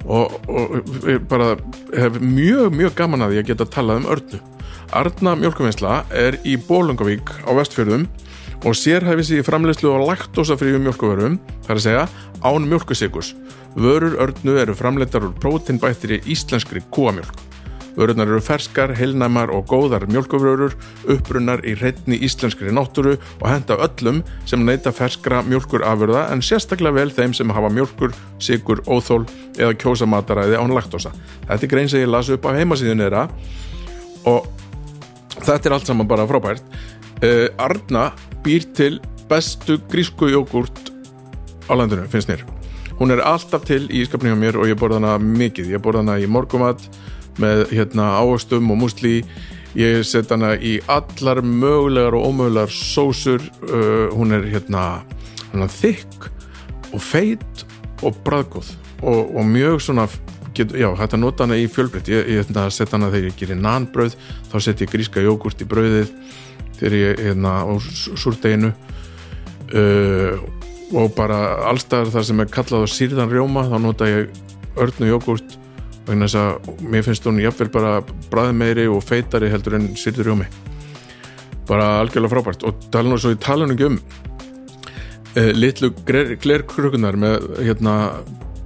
Speaker 1: og, og ég bara hef mjög, mjög gaman að því að geta talað um Örnu. Arna mjölkuvinnsla er í Bólungavík á Vestfjörðum og sérhæfi sig í framleiðslu á laktosafríum mjölkuvörum, þar að segja án mjölkusikurs. Vörur Örnu eru framleiddar úr prótinbættri íslenskri kúamjölk. Vörunar eru ferskar, heilnæmar og góðar mjölkuvörur, upprunnar í reyndni íslenskri náttúru og henda öllum sem neyta ferskra mjölkur afurða en sérstaklega vel þeim sem hafa mjölkur, sigur, óþól eða kjósamataræði án laktosa. Þetta er grein sem ég las upp á heimasíðinu þeirra og þetta er allt saman bara frábært. Uh, Arna býr til bestu grísku jógurt á landinu, finnst mér. Hún er alltaf til í ískapni hjá mér og ég borða hana mikið. Ég borða hana í morgumat, með hérna ávöxtum og musli ég set hana í allar mögulegar og ómögulegar sósur uh, hún er hérna hún er þykk og feit og bræðgóð og, og mjög svona get, já, hægt að nota hana í fjölbreytt ég, ég hérna, set hana þegar ég gerir nanbröð þá set ég gríska jógurt í brauðið þegar ég hérna á s- súrdeginu uh, og bara allstaðar þar sem er kallað á sírðan rjóma þá nota ég örnu jógurt vegna þess að mér finnst hún jafnvel bara bræði meiri og feitari heldur en sírður rjómi bara algjörlega frábært og tala nú svo í talanum ekki um uh, litlu glerkrukunar með hérna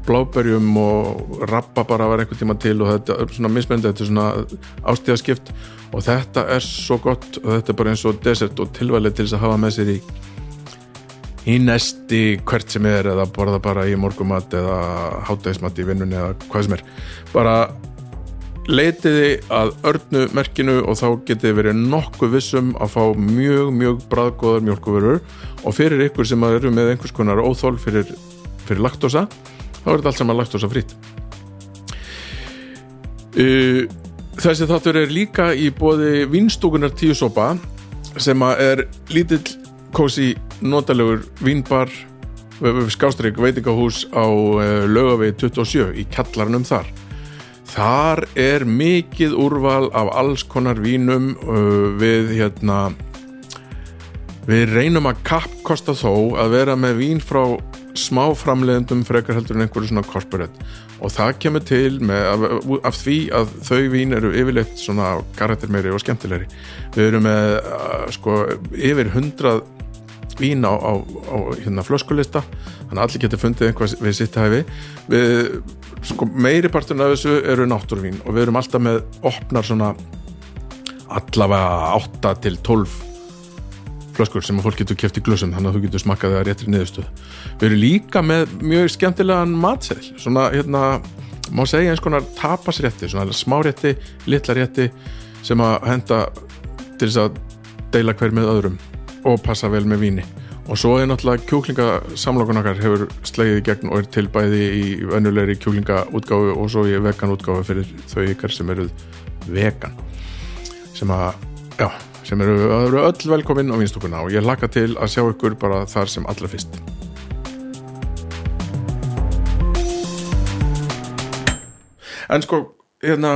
Speaker 1: bláberjum og rappa bara var einhvern tíma til og þetta er svona mismennandi, þetta er svona ástíðaskipt og þetta er svo gott og þetta er bara eins og desert og tilvalið til þess að hafa með sér í í næsti hvert sem er eða borða bara í morgumat eða hátægismat í vinnunni eða hvað sem er bara leitiði að örnu merkinu og þá getið verið nokkuð vissum að fá mjög, mjög bræðgóðar mjölkuvörur og fyrir ykkur sem eru með einhvers konar óþól fyrir, fyrir laktosa þá er þetta allt saman laktosa frýtt Þessi þáttur er líka í bóði vinstúkunar tíu sopa sem að er lítill kósi notalegur vínbar skástrík veitingahús á eh, lögavegi 27 í kjallarnum þar Þar er mikið úrval af alls konar vínum uh, við hérna við reynum að kappkosta þó að vera með vín frá smá framleiðendum frekar heldur en einhverju svona corporate og það kemur til með, af, af því að þau vín eru yfirleitt svona karaktermeiri og skemmtilegri við erum með uh, sko yfir hundrað vín á, á, á hérna flöskulista þannig að allir getur fundið einhvað við sitt hæfi við, sko, meiri partun af þessu eru náttúruvín og við erum alltaf með opnar svona allavega 8 til 12 flöskur sem að fólk getur keft í glössum þannig að þú getur smakkað það réttri niðurstöð við erum líka með mjög skemmtilegan matseðl svona hérna má segja eins konar tapasrétti svona smárétti, litla rétti sem að henda til þess að deila hver með öðrum og passa vel með víni og svo er náttúrulega kjúklingasamlokun okkar hefur slegið í gegn og er til bæði í önnulegri kjúklingaútgáfu og svo í veganútgáfu fyrir þau ykkar sem eru vegan sem að, já, sem eru, eru öll velkomin á vinstokuna og ég laka til að sjá ykkur bara þar sem allra fyrst En sko, hérna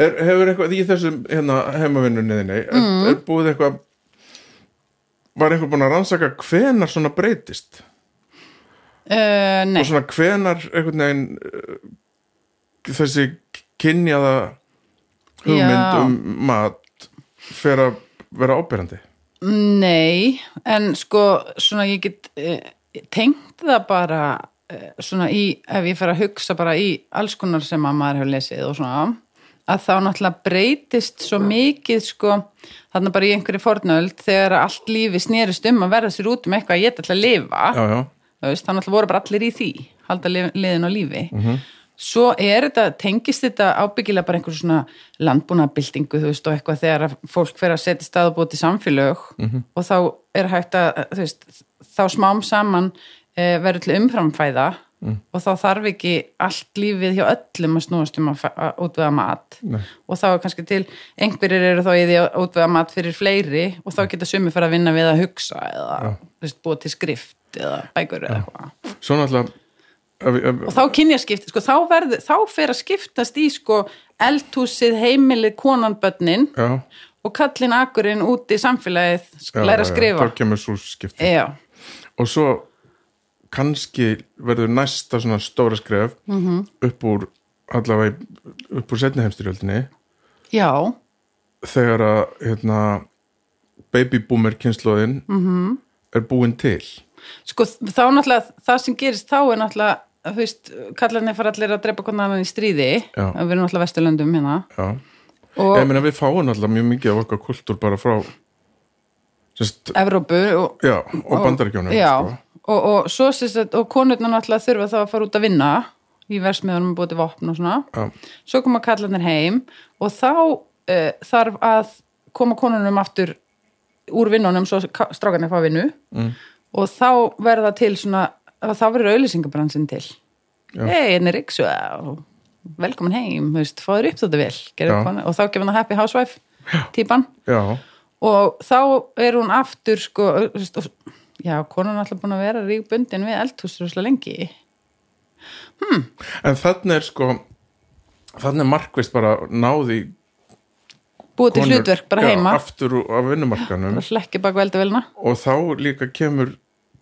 Speaker 1: er, hefur eitthvað í þessum hérna, heimavinnunniðinni, er, er búið eitthvað var einhver búin að rannsaka hvenar svona breytist
Speaker 2: Uh, nei,
Speaker 1: og svona hvenar einhvern veginn uh, þessi kynjaða hugmynd
Speaker 2: Já.
Speaker 1: um mat fer að vera ábyrjandi
Speaker 2: nei, en sko svona ég get uh, tengt það bara uh, svona í, ef ég fer að hugsa bara í alls konar sem að maður hefur lesið og svona að þá náttúrulega breytist svo mikið sko, þarna bara í einhverju fornöld þegar allt lífi snerist um að verða sér út um eitthvað að ég ætla að lifa
Speaker 1: Já, já,
Speaker 2: Þú veist, þannig að voru bara allir í því halda lif- liðin á lífi svo er þetta, tengist þetta ábyggilega bara einhver svona landbúnaðbyltingu þú veist og eitthvað þegar að fólk fer að setja stað og búið til samfélög og þá er hægt að, þú veist þá smám saman e, verður til umframfæða
Speaker 1: Mm.
Speaker 2: og þá þarf ekki allt lífið hjá öllum að snúast um að, fa- að útvega mat
Speaker 1: Nei.
Speaker 2: og þá er kannski til, einhverjir eru þá í því að útvega mat fyrir fleiri og
Speaker 1: Mm.
Speaker 2: þá geta sumi fyrir að vinna við að hugsa eða þú veist, búið til skrift eða bækur eða eitthvað
Speaker 1: svona alltaf ef,
Speaker 2: og
Speaker 1: ef,
Speaker 2: þá kynjaskipti, sko, þá, verð, þá fer að skiptast í sko eldhúsið, heimilið, konanbönnin
Speaker 1: já,
Speaker 2: og kallin akurinn út í samfélagið
Speaker 1: já,
Speaker 2: sk- læra að
Speaker 1: já, já,
Speaker 2: skrifa
Speaker 1: þá kemur svo skipti
Speaker 2: já,
Speaker 1: og svo kannski verður næsta svona stóra skref -hmm.
Speaker 2: Mhm.
Speaker 1: upp úr allavega í- upp úr setni heimstyrjöldinni
Speaker 2: já,
Speaker 1: þegar að hérna, baby boomer kynnslóðin -hmm.
Speaker 2: Mhm.
Speaker 1: er búin til
Speaker 2: sko þá náttúrulega það sem gerist þá er náttúrulega þú veist, kallarnir fara allir að drepa konan annan í stríði,
Speaker 1: Já.
Speaker 2: við erum náttúrulega vesturlöndum hérna
Speaker 1: já.
Speaker 2: og
Speaker 1: ég meina við fáum alltaf mjög mikið af okkar kultúr bara frá sérst,
Speaker 2: Evrópu og,
Speaker 1: já, og bandaríkjónum
Speaker 2: já,
Speaker 1: sko.
Speaker 2: og, og, svo, sem sagt- og konurnar náttúrulega þurfa þá að fara út að vinna í versmiðunum og búið til vopn og svona
Speaker 1: Já.
Speaker 2: svo koma kallarnir heim og þá uh, þarf að koma konunum aftur úr vinnunum svo ka- strákarnir fá vinnu mm. og þá hérna verða til svona þá verður auðlýsingabransin til hei, henni er ríksu og velkomin heim, þú veist, fáður upp þetta vel
Speaker 1: Já.
Speaker 2: og þá gefur hann að happy housewife típan
Speaker 1: já,
Speaker 2: og þá er hún aftur sko, þú veist, og, já, konan er alltaf búin að vera ríkbundin við eldhús rosalega lengi
Speaker 1: en þannig er sko þannig er markvist bara náði
Speaker 2: búið til hlutverk bara heima
Speaker 1: aftur úr- af vinnumarkanum
Speaker 2: bara hlekki bak veldavelna
Speaker 1: og þá líka kemur,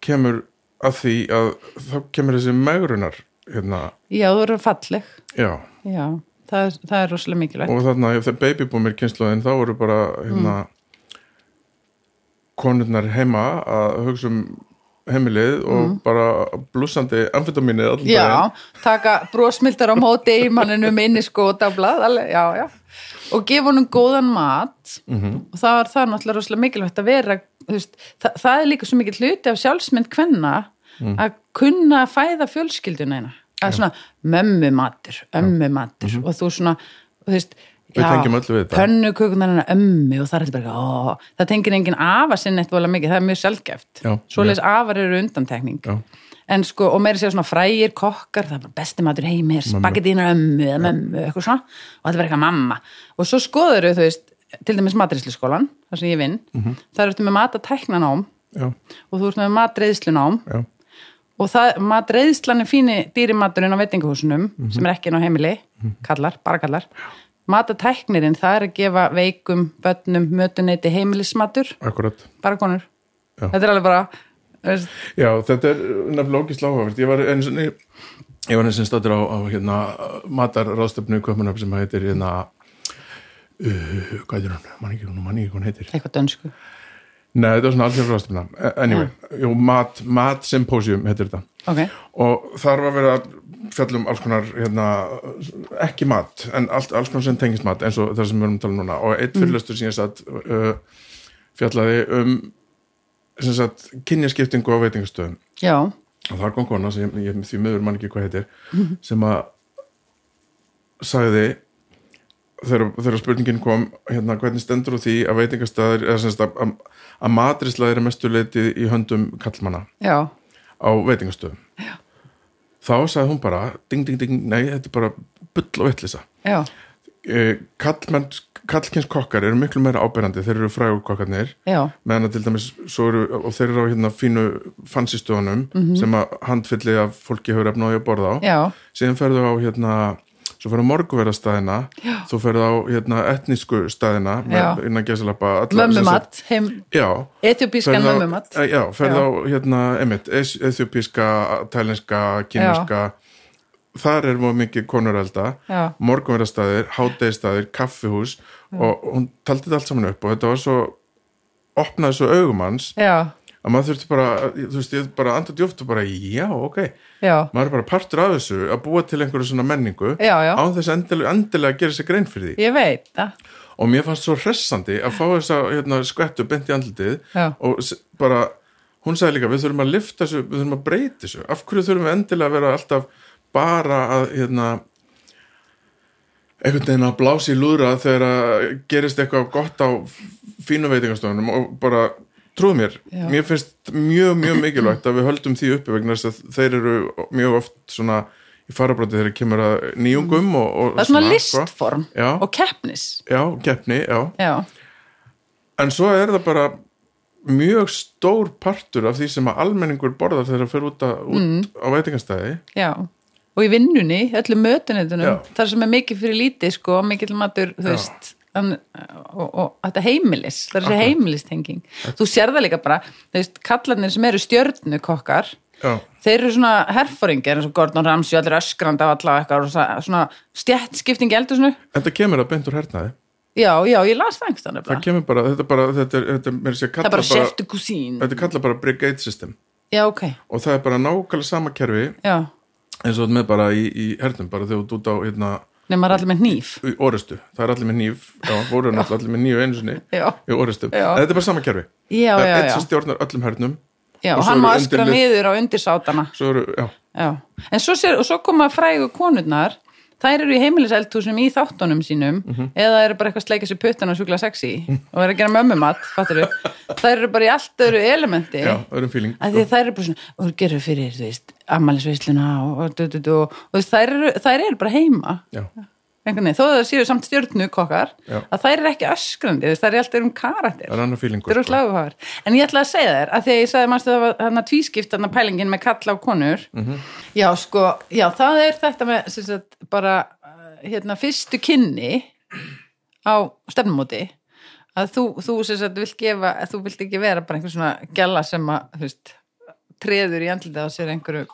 Speaker 1: kemur að því að þá kemur þessi megrunar hérna,
Speaker 2: já, þú eru falleg
Speaker 1: já
Speaker 2: já, það, er- það er rosalega mikilvægt
Speaker 1: og þarna ef þeir babyboomer kynsluðin þá eru bara hérna, konurnar heima að hugsa um heimilið og bara blúsandi amfetaminið allan
Speaker 2: Já, taka brosmildar á móti einmanninum inni sko og dablað alveg, já, já. og gefa honum góðan mat
Speaker 1: Mhm.
Speaker 2: og það er það er náttúrulega rosalega mikilvægt að vera þú veist, það, það er líka svo mikil hluti af sjálfsmynd kvenna
Speaker 1: Mm.
Speaker 2: að kunna að fæða fjölskylduna eina að svona mömmu matur, ömmu matur og þú svona, þú veist
Speaker 1: Mhm. Við tengjum öll við þetta.
Speaker 2: pönnukökunar hennar ömmu og það er alltaf bara, ó, það tengir engin afa sinn eitt vola mikið, það er mjög sjálfgæft
Speaker 1: Já,
Speaker 2: svoleiðis afar eru undantekning
Speaker 1: Já.
Speaker 2: en sko, og meira séu svona frægir kokkar, það er bara besti matur heimi er spagettínar ömmu eða mömmu, eitthvað svona og þetta var eitthvað mamma og svo skoður þau, þú veist, til dæmis matreisluskólan þar sem ég vinn,
Speaker 1: Mhm.
Speaker 2: þar ertu með matatæknanám
Speaker 1: já,
Speaker 2: og þú ert með matreðslunám
Speaker 1: já,
Speaker 2: og það, matreiðslan er fíni dýrimaturinn á veitingahúsunum
Speaker 1: Mhm.
Speaker 2: sem er ekki inn á heimili, kallar, bara kallar matatæknirinn, það er að gefa veikum, börnum, mötuneyti heimilismatur,
Speaker 1: akkurat
Speaker 2: bara konur
Speaker 1: Já.
Speaker 2: þetta er alveg bara þú veist,
Speaker 1: Já, þetta er nefnilega ógist lágavert. Ég var eins og ég var eins og státtur á, á hérna, matarráðstöfnu í Köpunöf sem heitir hérna, uh, hvað heitir hún? Man ekki, hún man ekki hvað hún heitir.
Speaker 2: eitthvað dönsku
Speaker 1: Nei, þetta var svona alls ráðstöfna. Anyway, jú, mat, mat symposium heitir þetta
Speaker 2: ok,
Speaker 1: og þar var verið að fjallum alls konar hérna, ekki mat, en allt, alls konar sem tengist mat eins og það sem við erum að tala um núna og eitt fyrirlestur sem ég satt uh, fjallaði um sem sagt, kynjaskiptingu á veitingastöðum
Speaker 2: já
Speaker 1: og þar kom kona sem ég, ég því miður mann ekki hvað heitir sem að sagði þegar, þegar spurningin kom hérna, hvernig stendur á því að veitingastæðir eða sem sagt að, að, að matrislæðir er mestu leiti í höndum kallmanna
Speaker 2: já,
Speaker 1: á veitingastöðum Já. þá sagði hún bara ding ding ding, nei þetta er bara bull og vittlisa
Speaker 2: já,
Speaker 1: kallmenn, kallkins kokkar eru miklu meira ábyrjandi, þeir eru frægur kokkarnir
Speaker 2: já,
Speaker 1: meðan að til dæmis svo eru, og þeir eru á hérna fínu fansistöðunum sem að handfylli að fólki hefur efna á því að borða á
Speaker 2: Mhm. já,
Speaker 1: síðan ferðu á hérna svo ferðu á morguverðastæðina þú ferðu á hérna etnísku stæðina með,
Speaker 2: Já.
Speaker 1: innan gesalappa
Speaker 2: mömmumat heim,
Speaker 1: já,
Speaker 2: etiopískan
Speaker 1: Ferðu á-
Speaker 2: mömmumat
Speaker 1: eh, já, ferðu
Speaker 2: Já.
Speaker 1: á hérna, einmitt, ethiopíska, tælenska, kíneska þar er mjög mikið konurelda
Speaker 2: Já.
Speaker 1: morgunverðastæðir, hádegistæðir, kaffihús og hún taldi þetta allt saman upp og þetta var svo opnaði svo augum hans
Speaker 2: já,
Speaker 1: að maður þurfti bara, þú veist, ég bara andið djúft og bara, já, ok
Speaker 2: já,
Speaker 1: maður er bara partur af þessu að búa til einhverju svona menningu
Speaker 2: Já, já.
Speaker 1: án þess að endilega, endilega að gera sér grein fyrir því
Speaker 2: ég veit það
Speaker 1: og mér fannst svo hressandi að fá þess að hérna, skvettu beint í andlitið
Speaker 2: Já.
Speaker 1: og s- bara, hún sagði líka við þurfum að lifta þessu, við þurfum að breyta þessu af hverju þurfum við endilega að vera alltaf bara að hérna einhvern veginn að blási í lúðra þegar að gerist eitthvað gott á fínu veitingastofunum og bara trúð mér,
Speaker 2: Já.
Speaker 1: mér finnst mjög, mjög mikilvægt að við höldum því uppi vegna þess að þeir eru mjög oft svona í farabróti þegar kemur að nýjungum og, og
Speaker 2: það er svona
Speaker 1: sko.
Speaker 2: listform
Speaker 1: Já.
Speaker 2: og keppnis
Speaker 1: Já, keppni, já
Speaker 2: já,
Speaker 1: en svo er það bara mjög stór partur af því sem að almenningur borðar þegar það fyrir út, að, út
Speaker 2: Mm.
Speaker 1: á veitingastæði
Speaker 2: já og í vinnunni, öllum mötunetunum
Speaker 1: Já.
Speaker 2: þar sem er mikið fyrir lítið sko mikið matur, þú
Speaker 1: Já.
Speaker 2: veist en, og, og þetta heimilis, það er þessi heimilistenging þú sér það líka bara þú veist, kallarnir sem eru stjörnukokkar
Speaker 1: já,
Speaker 2: þeir eru svona herfóringar eins og Gordon Ramsay, allir öskrandi á alla og eitthvað, og svona- svona stjættskipting eldur svona
Speaker 1: en það kemur að beint úr hernaði
Speaker 2: Já, já, ég las það einhverstað
Speaker 1: það
Speaker 2: nefnilega.
Speaker 1: kemur bara, þetta er bara þetta er, þetta er, meira að segja
Speaker 2: Það er
Speaker 1: kallað
Speaker 2: bara chef de cuisine.
Speaker 1: þetta er kallað bara brigade system
Speaker 2: Já, ok.
Speaker 1: og það er bara nákvæmlega sama kerfi
Speaker 2: Já,
Speaker 1: eins og þetta með bara í, í hernum bara þegar þú ert út á hérna,
Speaker 2: nema allir með hníf.
Speaker 1: í orustu, það er allir með nýf já, voru náttúrulega allir með nýju einu sinni
Speaker 2: Já.
Speaker 1: í orustum,
Speaker 2: Já.
Speaker 1: en þetta er bara sama kerfi
Speaker 2: Já,
Speaker 1: það er
Speaker 2: já,
Speaker 1: eitt
Speaker 2: já.
Speaker 1: sem stjórnar öllum hernum
Speaker 2: Já,
Speaker 1: Og
Speaker 2: og
Speaker 1: svo
Speaker 2: hann má
Speaker 1: eru
Speaker 2: öskra
Speaker 1: undirlið-
Speaker 2: niður á undirsátana.
Speaker 1: svo eru, já,
Speaker 2: Já. En svo, sér, og svo koma frægu konurnar þær eru í heimiliseldhúsum í þáttunum sínum
Speaker 1: Mhm.
Speaker 2: eða eru bara eitthvað að sleika sér puttan og sjúkla sexi og eru að gera mömmumat, fattur við þær eru bara í allt öðru elementi
Speaker 1: Já, öðrum feeling
Speaker 2: Eh? að því að þær eru bara svona og gerur fyrir, þú veist, ammælisveisluna og, og, og, og, og, og þú veist, þær, eru, þær eru bara heima
Speaker 1: Já,
Speaker 2: einhvern veginn, þó að það séu samt stjórnu kokkar
Speaker 1: Já.
Speaker 2: að þær eru ekki öskrandi, þú veist, þær eru alltaf um karakter
Speaker 1: það er annar feeling
Speaker 2: þetta eru sláfáður, en ég ætla að segja þér að því að ég sagði mannstu það var hann að tvískipt hann að pælingin með kalla og konur já, sko, já, það er þetta með sem sagt, bara uh, hérna, fyrstu kynni á stefnumóti að þú, þú sem sagt vilt gefa að þú vilt ekki vera bara einhver svona gæla sem að, þú veist, treður í andlita á sér einhverju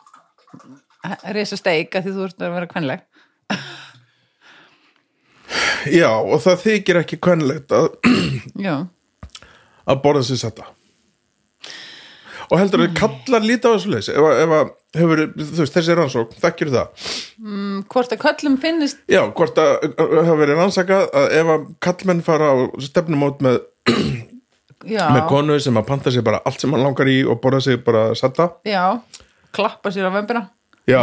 Speaker 2: resa steik að því þú ert að vera kvenleg
Speaker 1: Já, og það þykir ekki kvennlegt að,
Speaker 2: já
Speaker 1: að borða sér sætta og heldur að kallar líta á þessu leys ef, að- ef að hefur, þú veist, þessi rannsókn þekkir það,
Speaker 2: hvort að köllum finnist
Speaker 1: já, hvort að hafa verið rannsakað að ef að kallmenn fara á stefnumót með,
Speaker 2: já,
Speaker 1: með konu sem að panta sér bara allt sem hann langar í og borða sér bara sætta
Speaker 2: já, klappa sér á vömbina
Speaker 1: já,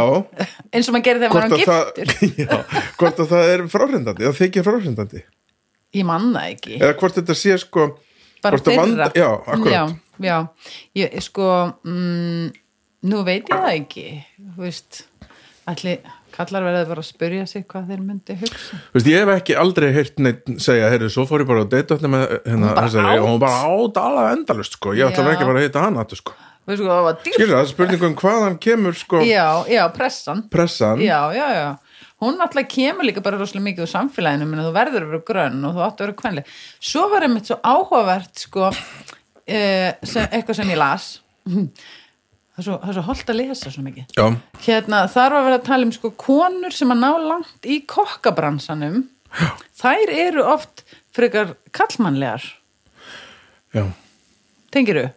Speaker 2: eins og maður gerir þegar maður er
Speaker 1: það
Speaker 2: giftur
Speaker 1: já, hvort að það er fráhrindandi það þykir fráhrindandi
Speaker 2: ég mann það ekki
Speaker 1: eða hvort þetta sé sko
Speaker 2: bara
Speaker 1: hvort að
Speaker 2: þeirra
Speaker 1: vanda- já, akkurat
Speaker 2: já, já. Ég, sko mm, nú veit ég það ekki þú veist allir kallar verða bara að spyrja sig hvað þeir myndi hugsa
Speaker 1: Þú veist, ég hef ekki aldrei heyrt neitt segja, heyrðu, svo fór ég bara á date hérna með hérna
Speaker 2: bara
Speaker 1: þessari
Speaker 2: át.
Speaker 1: og hún bara át alveg endalust, sko, ég ætla
Speaker 2: Já.
Speaker 1: ekki bara að heita hana aftur, sko.
Speaker 2: Þú veist, sko, það var dýrt
Speaker 1: Skilur það, spurningum hvaðan kemur, sko,
Speaker 2: já, já, pressan
Speaker 1: pressan,
Speaker 2: já, já, já hún náttúrulega kemur líka bara rosalega mikið úr samfélaginu menn þú verður að vera grönn og þú átt að vera kvenleg svo var einmitt svo áhugavert sko, eh, sem, eitthvað sem ég las það er svo, það er svo holdt að lesa svo mikið
Speaker 1: já,
Speaker 2: hérna, þar var verið að tala um sko konur sem að ná langt í kokkabransanum þær eru oft frekar kallmannlegar
Speaker 1: já,
Speaker 2: tengiru?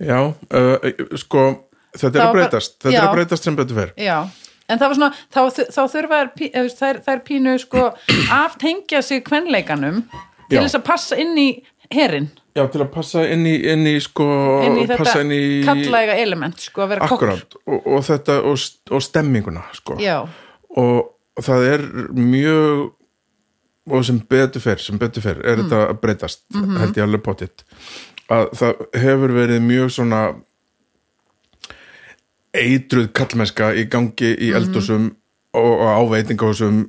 Speaker 1: já, uh, sko, þetta
Speaker 2: Það
Speaker 1: er
Speaker 2: var
Speaker 1: að
Speaker 2: bara-
Speaker 1: breytast, þetta er
Speaker 2: já.
Speaker 1: að breytast sem betur fer.
Speaker 2: Já en það var svona, þá, þá þurfa þær pí- eða, þú veist, þær, þær pínu sko aftengja sig kvenleikanum til
Speaker 1: Já.
Speaker 2: þess að passa inn í herin
Speaker 1: Já, til að passa inn í, inn í sko,
Speaker 2: inn í þetta
Speaker 1: passa inn í,
Speaker 2: kallæga element sko að vera kokkur
Speaker 1: akkurat, og, og þetta, og, st- og stemminguna, sko.
Speaker 2: Já,
Speaker 1: Og það er mjög, og sem betur fer, sem betur fer, er þetta að breytast, held ég alveg pottitt. Að það hefur verið mjög svona eitruð kallmennska í gangi í eldhúsum og, og á veitingahúsum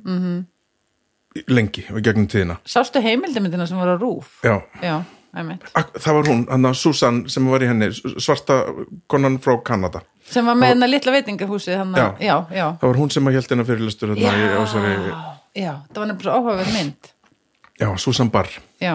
Speaker 1: lengi og í gegnum tíðina.
Speaker 2: sástu heimildamindina sem var á rúf
Speaker 1: Já,
Speaker 2: Já, einmitt
Speaker 1: Ak- það var hún, hann að Susan sem var í henni, s- svarta konan frá Kanada.
Speaker 2: sem var með hennar litla veitingahúsið hann að- já, já,
Speaker 1: Það var hún sem að hjælt hennar fyrirlistur þarna hérna í
Speaker 2: já,
Speaker 1: ásari,
Speaker 2: já, það var nefnilega svo áhugaverð mynd
Speaker 1: já, Susan Barr.
Speaker 2: já,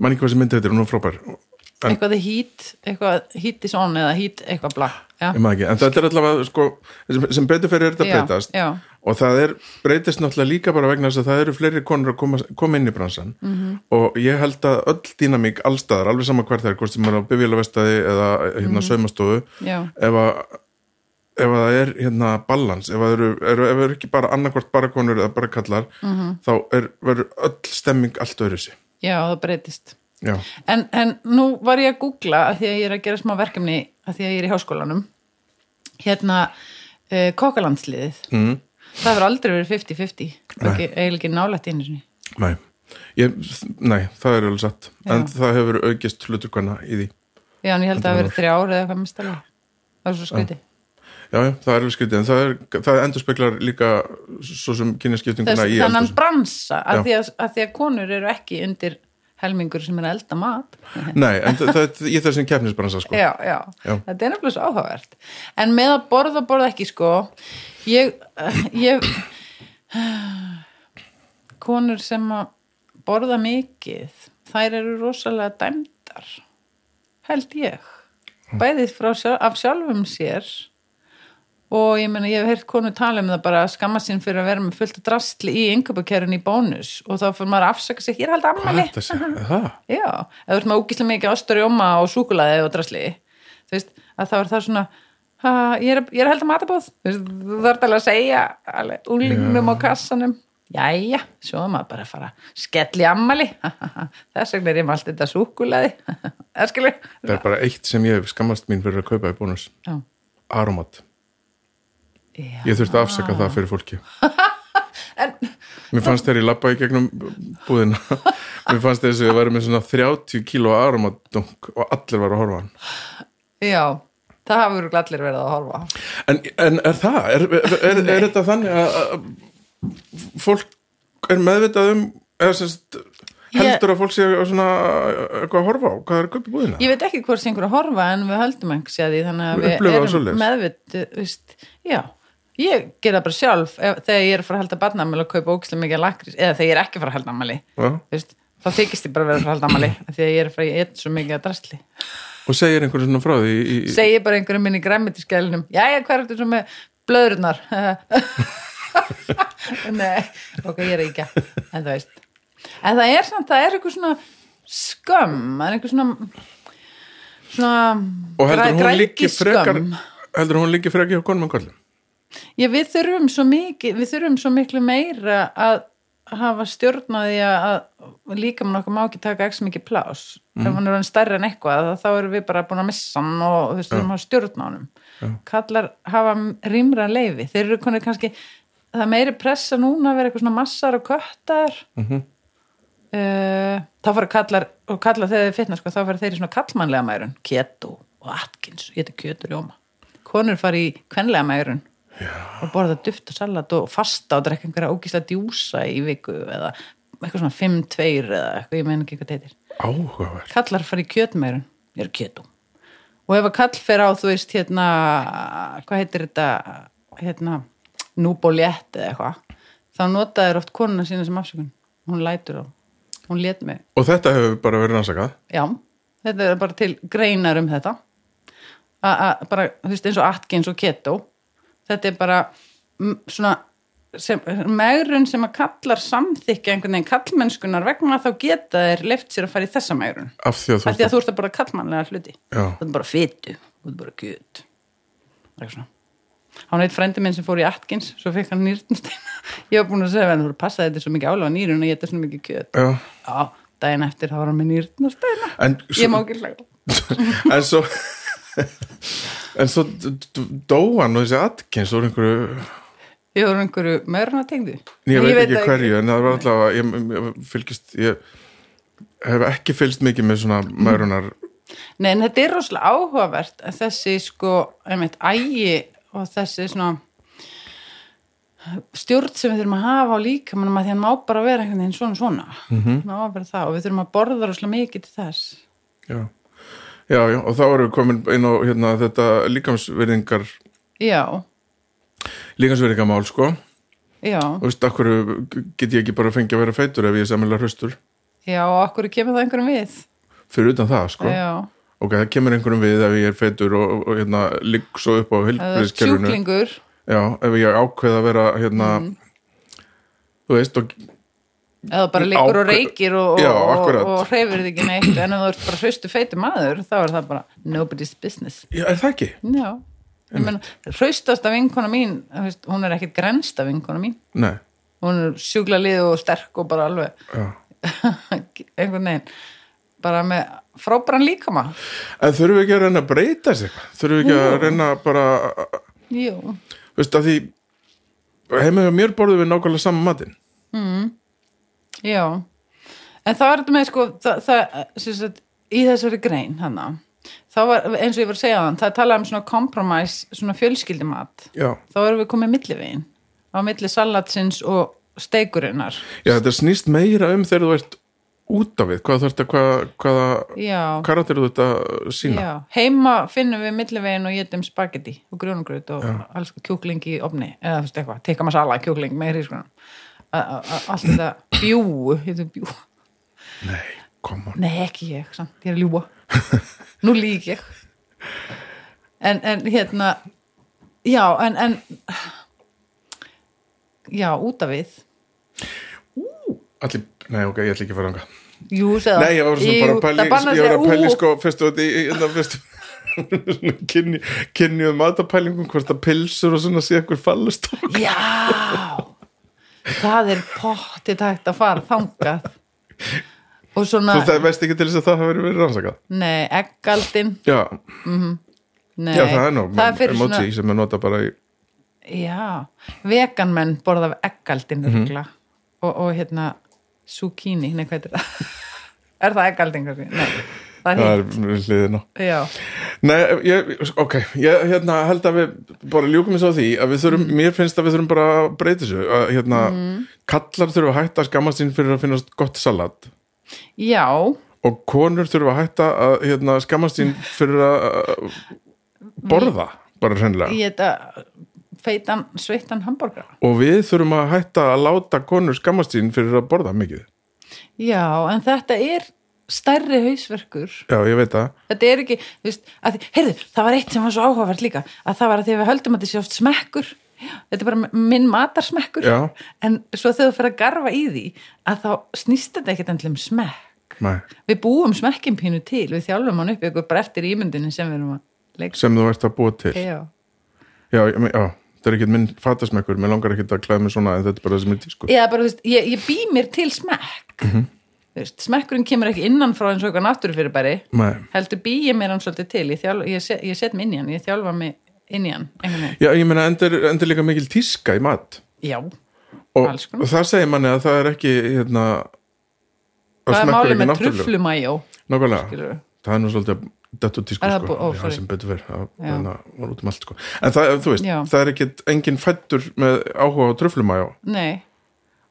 Speaker 1: Man ekki hvað sem myndi þetta, hún er frábær. En-
Speaker 2: eitthvað the heat eitthvað heat is on eða heat eitthvað bla já,
Speaker 1: Ég maður ekki, en þetta er allavega, sko, sem, sem betur fyrir er þetta að
Speaker 2: já,
Speaker 1: breytast.
Speaker 2: já,
Speaker 1: og það er, breytist náttúrulega líka bara vegna þess að það eru fleiri konur að koma, koma inn í bransan
Speaker 2: Mhm.
Speaker 1: -hmm. og ég held að öll dýnamík allstaðar, alveg sama hver það er hvort sem er á bifjölavestaði eða hérna
Speaker 2: Mhm.
Speaker 1: saumastofu
Speaker 2: já,
Speaker 1: ef að ef að það er hérna balans ef það eru, eru, ef það eru ekki bara annarkvort bara konur eða bara kallar
Speaker 2: Mhm.
Speaker 1: -hmm. þá er, verður öll stemming allt öðru sig
Speaker 2: já, það breytist
Speaker 1: já,
Speaker 2: en, en nú var ég að googla að því að ég er að gera smá verkefni að því að ég er í háskólanum hérna uh, kokkalandsliðið mm. það hefur aldrei verið 50-50 Það er
Speaker 1: Nei.
Speaker 2: ekki- eiginlega ekki nálætt einu sinni
Speaker 1: nei ég, nei, það er alveg satt
Speaker 2: Já.
Speaker 1: en það hefur aukist hlutukvæna í því
Speaker 2: já, en ég held að það hafi
Speaker 1: Þetta
Speaker 2: verið þrjá ári eða eitthvað mistalega það er svo skuti
Speaker 1: já, já, það er alveg skrítið en það, er, það endurspeglar líka svo sem kynjaskiptinguna
Speaker 2: Þess,
Speaker 1: í
Speaker 2: þannig
Speaker 1: eldhúsum.
Speaker 2: bransa að
Speaker 1: Já.
Speaker 2: því að, að því að konur eru ekki undir helmingur sem er að elda mat
Speaker 1: Nei, en það, það er í þessum keppnisbransa sko.
Speaker 2: já, já,
Speaker 1: Já.
Speaker 2: þetta er nefnilega svo áhugavert en með að borða og borða ekki sko ég, ég konur sem að borða mikið þær eru rosalega dæmdar held ég bæðið frá, sjál- af sjálfum sér og ég meina ég hef heyrt konu tala um það bara að skamma sín fyrir að vera með fullt af drastli í yngöpukerun í bónus og þá fyrir maður að afsaka sig, ég er haldið
Speaker 1: Hvað
Speaker 2: ammali
Speaker 1: er þetta að segja? Það?
Speaker 2: Já, ef þú ert með úkislega mikið ásturjóma og súkulaði og drasli þú veist, að þá er það svona ha, ég, er, ég er að heldur matabóð þú veist, þú þarf alveg að segja alveg, úlingnum á kassanum Jæja, svo er maður bara að fara skelli ammali, þess vegna er ég með allt þetta súkulaði það skilur
Speaker 1: það er bara eitt sem ég hef skammast mín fyrir að kaupa í bónus
Speaker 2: Já.
Speaker 1: Aromat,
Speaker 2: Já.
Speaker 1: ég þurfti að afsaka það fyrir fólki
Speaker 2: en
Speaker 1: Mér fannst þegar ég labbaði í gegnum búðina Mér fannst þess að ég væri með svona 30 kíló aromadunk og allir var að horfa á hann
Speaker 2: já, það hafa verið allir verið að horfa á.
Speaker 1: En, en er það? Er, er, er, er þetta þannig að að fólk er meðvitað um eða semst heldur að fólk sé að svona eitthvað að horfa á hvað er að kaupa í búðina?
Speaker 2: Ég veit ekki hvort sé einhver að horfa en við höldum einhversi að því þannig að
Speaker 1: Við
Speaker 2: við
Speaker 1: upplifum það
Speaker 2: erum
Speaker 1: svoleiðis.
Speaker 2: meðvitt, veist, já. Ég ger það bara sjálf ef, þegar ég er að fara að halda barnamæli og kaupa ógislega mikið lakrís eða þegar ég er ekki að fara að halda ammæli,
Speaker 1: Já.
Speaker 2: þú veist, þá þykist ég bara að vera að fara að halda ammæli af því að ég er að fara að geta svo mikið að drastli.
Speaker 1: Og segir einhvern svona frá því í, í,
Speaker 2: Segir bara einhverjum minni græmitiskælinum, jæja, hvað er þetta svo með blöðurnar? Nei, ok, ég er ekki að, en þú veist. En það er samt, það er einhver svona skömm, það er einhver svona, svona
Speaker 1: og heldur hún
Speaker 2: græðgi
Speaker 1: líki frekar heldur hún líki frekar hjá konum en kollum?
Speaker 2: Já, við þurfum svo mikið, við þurfum svo miklu meira að hafa stjórnaði að líka mann okkar má ekki taka ekki mikið plás ef hann er hann stærri en eitthvað þá erum við bara búin að missa hann og þú veist, þurfum að hafa stjórn á hann kallar hafa rýmra leifi þeir eru konir kannski, það er meiri pressa núna að vera eitthvað svona massar og köttar mm þá fara kallar og kallar þegar þeir fitna sko, þá fara þeir í svona kallmannlega mærun keto og Atkins, ég heiti kjötur jóma konur fara í kvenlega mærun og borða duft og salat og fasta og drekka einhverja ógísla djúsa í viku eða eitthvað svona 5-2 eða eitthvað, ég meina ekki hvað þetta heitir.
Speaker 1: Áhugaverð
Speaker 2: Kallar fara í kjötmeirun, ég er kjötum. Og ef að kall fer á, þú veist, hérna, hvað heitir þetta, hérna, núbóljett eða eitthvað, þá nota þér oft konuna sína sem afsökun. Hún lætur á, hún lét mig,
Speaker 1: Og þetta hefur bara verið rannsakað
Speaker 2: já, þetta er bara til greinar um þetta A- a- bara, þú veist, eins og Atkins og Keto þetta er bara mm, svona sem, megrun sem að kallar samþykja einhvern veginn kallmennskunar vegna þá geta þeir leift sér að fara í þessa megrun
Speaker 1: af því að þú
Speaker 2: af því að þú ert að bara kallmannlega hluti
Speaker 1: Já.
Speaker 2: þú ert bara fytu, þú ert bara kjöt eitthvað svona hann veit frendi minn sem fór í Atkins svo fekk hann nýrnsteina ég var búin að segja hann, þú passaði þetta er svo mikið álega nýrun og ég þetta svo mikið kjöt
Speaker 1: Já.
Speaker 2: já, daginn eftir þá var hann með nýrnsteina
Speaker 1: En,
Speaker 2: ég má ekki hlæga
Speaker 1: en svo en svo d- d- dó hann og þessi Atkins úr einhverju
Speaker 2: Ég voru einhverju meirna tengdu.
Speaker 1: ég, veit ekki
Speaker 2: það
Speaker 1: hverju en það var alltaf að ég, ég fylgist ég hef ekki fylgst mikið með svona mærunar
Speaker 2: Nei, en þetta er rosalega áhugavert að þessi sko, einmitt, ægi og þessi svona stjórn sem við þurfum að hafa á líka mannum að því hann má bara vera einhvern veginn svona svona. Mm
Speaker 1: Mhm.
Speaker 2: -hmm. Má bara það og við þurfum að borða rosalega mikið til þess.
Speaker 1: já. já, já, og þá erum við komin inn á hérna, þetta líkamsverðingar
Speaker 2: Já,
Speaker 1: líkamsverðingamál sko og
Speaker 2: já,
Speaker 1: veist, akkur get ég ekki bara fengið að vera feitur ef ég er samilega hraustur
Speaker 2: já, og okkur kemur það einhverjum við.
Speaker 1: fyrir utan það sko
Speaker 2: Já,
Speaker 1: ok, það kemur einhverjum við ef ég er feitur og, og, og hérna, ligg svo upp á
Speaker 2: það er
Speaker 1: helbriðskerfinu
Speaker 2: sjúklingur.
Speaker 1: Já, ef ég ákveð að vera hérna, þú veist og,
Speaker 2: eða bara liggur og
Speaker 1: Ákveð-
Speaker 2: reykir og,
Speaker 1: Já,
Speaker 2: og,
Speaker 1: akkurat.
Speaker 2: og hreyfir þig ekki neitt en ef þú ert bara hraustu feitu maður þá er það bara nobody's business
Speaker 1: já, er það ekki?
Speaker 2: Já, ég meina, hraustasta vinkona mín, þú veist, hún er ekkit grensta vinkona mín,
Speaker 1: Nei,
Speaker 2: hún er sjúkla lið og sterk og bara alveg
Speaker 1: já
Speaker 2: einhvern veginn, bara með frábæran líkama
Speaker 1: En þurfum við ekki að reyna að breyta sér þurfum við ekki að reyna bara
Speaker 2: Jú,
Speaker 1: þú veist að því heima hjá mér borðum við nákvæmlega saman matinn
Speaker 2: já en það var þetta með sko það, það, sem sagt, í þessari grein hana, þá var, eins og ég var að segja þann það talaði um svona compromise, svona fjölskyldimat
Speaker 1: Já,
Speaker 2: þá erum við komið millivegin á milli salatsins og steikurinnar
Speaker 1: já þetta snýst meira um þegar þú ert út af við hvað þú ert að, hvað, hvaða
Speaker 2: Já,
Speaker 1: karakter þú ert að sína
Speaker 2: já heima finnum við millivegin og getum spagetti og grjónugröð og alls kjúkling í ofni eða þú veist eitthvað, teka masala, kjúkling með hrískunum allt þetta bjúu, heitum bjúu
Speaker 1: Nei, koma
Speaker 2: um Nei, ekki ég, samt, ég er að ljúa Nú lík ég En, en hérna Já, en, en Já, út af við
Speaker 1: Allir, nei ok, ég ætla ekki að fara ánga
Speaker 2: Jú, segða
Speaker 1: Nei, ég var svona bara að pæli, ég var að pæli sko fyrst og þetta í fyrst kynni, kynni um matapælingum hvort að pilsur og svona sé eitthvað fallust
Speaker 2: Já Það er pottið hægt að fara þangað Og svona
Speaker 1: þú það veist ekki til þess að það hafi verið verið rannsakað
Speaker 2: Nei, eggaldin
Speaker 1: já,
Speaker 2: nei,
Speaker 1: já það er nú
Speaker 2: það er fyrir
Speaker 1: emoji
Speaker 2: svona
Speaker 1: sem er nota bara í Mhm.
Speaker 2: já, veganmenn borða eggaldin mm og, og hérna zucchini, nei hvað er það er það eggaldin kannski? Nei, það er
Speaker 1: það
Speaker 2: hitt,
Speaker 1: er hliðina
Speaker 2: já
Speaker 1: Nei, ég, ok, ég hérna, held að við bara ljúkum eins á því að við
Speaker 2: Mm.
Speaker 1: þurfum, mér finnst að við þurfum bara að breyta þessu að hérna, kallar þurfa að hætta að skamma sín fyrir að finnast gott salat
Speaker 2: já,
Speaker 1: og konur þurfa að hætta að hérna, skamma sín fyrir að að borða, bara hreinlega
Speaker 2: ég þetta feitan, sveittan hambúrgara
Speaker 1: og við þurfum að hætta að láta konur skamma sín fyrir að borða mikið
Speaker 2: já, en þetta er stærri hausverkur
Speaker 1: Já, ég veit það
Speaker 2: þetta er ekki, þú veist, að því, heyrðu, það var eitt sem var svo áhugavert líka, að það var að því að við höldum að þetta sé oft smekkur Já, þetta er bara m- minn matarsmekkur
Speaker 1: Já.
Speaker 2: en svo þegar þú fer að garfa í því að þá snýst þetta ekkert endilega um smekk
Speaker 1: Nei.
Speaker 2: við búum smekkin pínu til við þjálfum hann upp ykkur bara eftir ímyndinu sem við erum að leika
Speaker 1: sem þú ert að búa til
Speaker 2: Já.
Speaker 1: Já, ég- já það er ekkert minn fatasmekkur, mér langar ekkert að klæða mig svona en þetta er bara það sem er tísku
Speaker 2: Eða bara, þú veist, ég, ég bý mér til smekk mm veist, smekkurinn kemur ekki innan frá eins og eitthvað náttúrufyrirbæri
Speaker 1: Nei.
Speaker 2: heldur bý ég mér hann svolítið til ég, þjálf, ég, set, ég set mig inn í hann, ég þjálfa mig inn í hann einhvern veginn.
Speaker 1: Já, ég meina, endur, endur líka mikil tíska í mat
Speaker 2: Já,
Speaker 1: og,
Speaker 2: Alls konar.
Speaker 1: og það segir manni að það er ekki hérna, að
Speaker 2: Hvað er
Speaker 1: smekkur
Speaker 2: málið
Speaker 1: ekki
Speaker 2: með
Speaker 1: náttúrulega
Speaker 2: trufflumæjó?
Speaker 1: Nákvæmlega,
Speaker 2: skilurðu?
Speaker 1: það er nú svolítið dettu tísku
Speaker 2: Er það
Speaker 1: sko,
Speaker 2: bú- ó,
Speaker 1: Já,
Speaker 2: sorry.
Speaker 1: sem betur fyrr það
Speaker 2: Já.
Speaker 1: hérna, var út um allt sko en það, þú veist,
Speaker 2: Já.
Speaker 1: það er ekki engin fættur með áhuga á tröflumæjó
Speaker 2: Nei.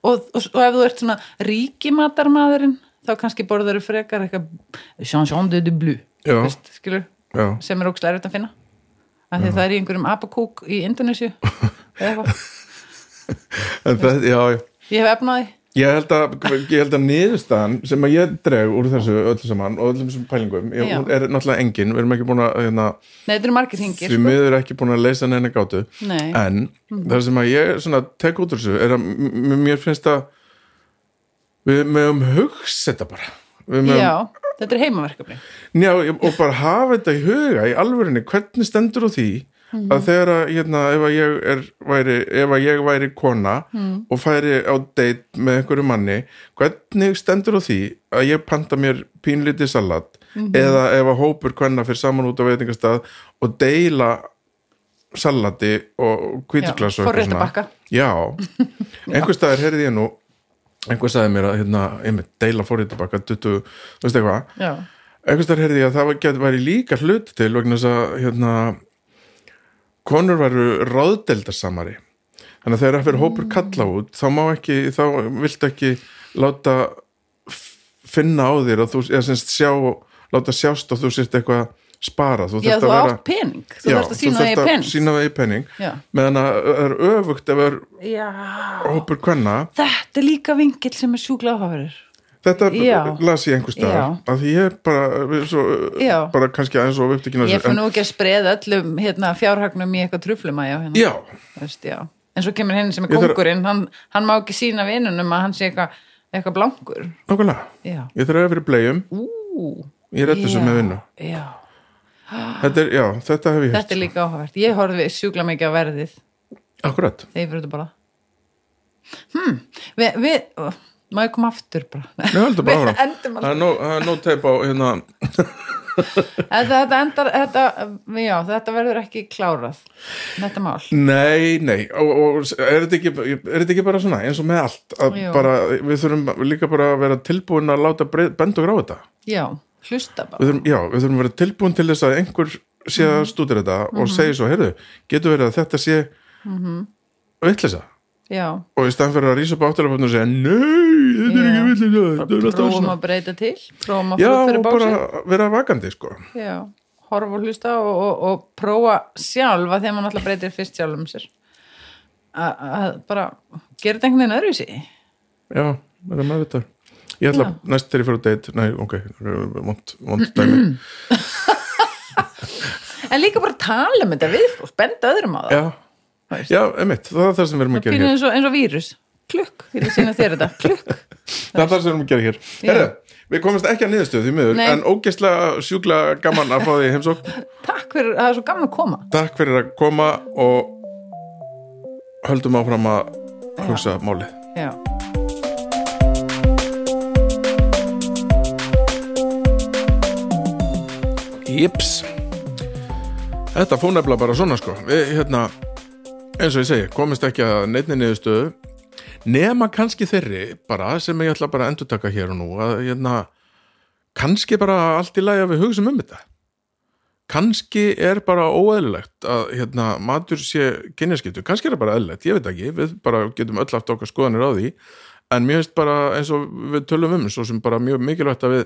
Speaker 2: Og, og, og ef þú ert svona ríkimatarmaðurinn, þá kannski borður þú frekar eitthvað chanson de du blu,
Speaker 1: Já.
Speaker 2: veist, skilur,
Speaker 1: Já,
Speaker 2: sem er ógstlega erfitt að finna. Af því það er í einhverjum apakúk í Indonesia. eða eitthvað.
Speaker 1: en það, já, já
Speaker 2: ég hef efnaði.
Speaker 1: Ég held, að, ég held að niðurstaðan sem að ég dreg úr þessu öllu saman og öllum þessum pælingum, ég,
Speaker 2: Já.
Speaker 1: hún er náttúrulega engin, við erum ekki búin að hérna,
Speaker 2: Nei, þetta eru margir hringir. sko.
Speaker 1: því miður ekki búin að leysa neina gátu
Speaker 2: Nei. Mhm.
Speaker 1: en það sem að ég svona tek út úr þessu er að m- m- mér finnst að við mögum hugsa þetta bara Við megum-
Speaker 2: Já, þetta er heimaverkefni.
Speaker 1: Já, og bara hafa þetta í huga í alvörinni, hvernig stendur á því að þegar að, hérna, ef að ég er, væri, ef að ég væri kona og færi á date með einhverju manni, hvernig stendur á því að ég panta mér pínlítið salat eða ef að hópur kvenna fyrir saman út á veitingastað og deila salati og kvíturglas
Speaker 2: Já,
Speaker 1: og eitthvað
Speaker 2: forréttabakka.
Speaker 1: Já, einhver staðar heyrði ég nú einhver staði mér að hérna, einmitt, deila forréttabakka, tuttu, þú veist eitthvað
Speaker 2: Já.
Speaker 1: einhvers þar heyrði ég að það geti væri líka hlut til vegna þess að hérna, konur væru ráðdeldarsamari þannig að þegar það fyrir
Speaker 2: Mm.
Speaker 1: hópur kalla út þá má ekki, þá vilt ekki láta f- finna á þér að þú, eða semst sjá láta sjást að þú sért eitthvað sparað, þú
Speaker 2: Já,
Speaker 1: þarft
Speaker 2: þú
Speaker 1: að vera
Speaker 2: átt pening. Þú þarfst að sína það í pening.
Speaker 1: sína það í pening
Speaker 2: Já.
Speaker 1: meðan að það er öfugt ef það er
Speaker 2: Já.
Speaker 1: hópur kvenna
Speaker 2: Þetta er líka vingill sem er sjúkla áhafurur.
Speaker 1: þetta
Speaker 2: Já.
Speaker 1: las ég einhvers staðar
Speaker 2: Já.
Speaker 1: að því ég er bara, við svo,
Speaker 2: Já.
Speaker 1: bara kannski aðeins og upptekina
Speaker 2: Ég fór nú ekki að spreða öllum hérna, fjárhagnum í eitthvað truflumæja hérna.
Speaker 1: Já,
Speaker 2: Þú veist, já. En svo kemur henni sem er
Speaker 1: Ég þarf-
Speaker 2: kongurinn, hann, hann má ekki sína vinunum að hann sé eitthvað eitthva blankur.
Speaker 1: nákvæmlega.
Speaker 2: Já.
Speaker 1: Ég þarf að vera í bleiðum,
Speaker 2: Ú,
Speaker 1: ég er þessu
Speaker 2: já,
Speaker 1: með vinnu.
Speaker 2: Já,
Speaker 1: Þetta er, já, þetta hef ég
Speaker 2: þetta er líka áhugavert. Ég horfði sjúkla mikið á verðið
Speaker 1: Akkurat.
Speaker 2: þegar ég fyrir þetta bara. Hmm, við, við, ó, má ég koma aftur bara?
Speaker 1: Nei, heldur bara ára.
Speaker 2: Við endum
Speaker 1: Það
Speaker 2: alltaf.
Speaker 1: er nóg- það er nóg teip á, hérna,
Speaker 2: Þetta, þetta endar, þetta, já, þetta verður ekki klárað. Þetta mál.
Speaker 1: nei, nei, og, og er, þetta ekki, er þetta ekki bara svona, eins og með allt, að
Speaker 2: Jú.
Speaker 1: bara, við þurfum líka bara að vera tilbúin að láta brey- benda og gráða þetta.
Speaker 2: Já, hlusta bara.
Speaker 1: Við þurfum, já, við þurfum að vera tilbúin til þess að einhver sé að stútir þetta
Speaker 2: Mhm.
Speaker 1: og segi svo, heyrðu, getur verið að þetta sé vitleysa?
Speaker 2: Já,
Speaker 1: Og í stæðan fyrir að rísa upp áttalaföfnum og segja, nei, þetta er
Speaker 2: Já.
Speaker 1: ekki vitleysa, þetta er alltaf
Speaker 2: prófum
Speaker 1: svona.
Speaker 2: að breyta til, prófum að
Speaker 1: Já,
Speaker 2: fara út
Speaker 1: og
Speaker 2: fyrir bóksið.
Speaker 1: bara vera vakandi, sko.
Speaker 2: Já, horfa og hlusta og, og, og prófa sjálfa þegar maður alltaf breytir fyrst sjálf um sér A- að bara gera þetta einhvern veginn öðruvísi
Speaker 1: Já, vera með þetta. Ég ætla, næst þegar ég fyrir að date, nei, ok, vond, vond dæmi.
Speaker 2: en líka bara tala um þetta við fólk, benda öðrum á það
Speaker 1: Já, já, emitt, það er það sem við erum að
Speaker 2: það
Speaker 1: gera
Speaker 2: býnir
Speaker 1: hér.
Speaker 2: eins og, eins og vírus klukk, ég er að sína þér þetta klukk,
Speaker 1: Það er það sem við erum að gera hér.
Speaker 2: Já.
Speaker 1: Herra, við komumst ekki að niðurstöðu því miður,
Speaker 2: Nei.
Speaker 1: en ógeðslega sjúkla gaman að fá því heimsók.
Speaker 2: takk fyrir það er svo gaman að koma
Speaker 1: Takk fyrir að koma og höldum áfram að hugsa málið.
Speaker 2: Já.
Speaker 1: Jips Þetta fór nefnilega bara svona sko Við, hérna, eins og ég segi, komist ekki að neittni niðurstöðu nema kannski þeirri bara sem ég ætla bara að endurtaka hér og nú að hérna, kannski bara allt í lagi að við hugsum um þetta kannski er bara óeðlilegt að hérna, matur sé kynjaskiptu, kannski er það bara eðlilegt, ég veit ekki við bara getum öll haft okkar skoðanir á því en mér finnst bara eins og við tölum um svo sem bara mjög mikilvægt að við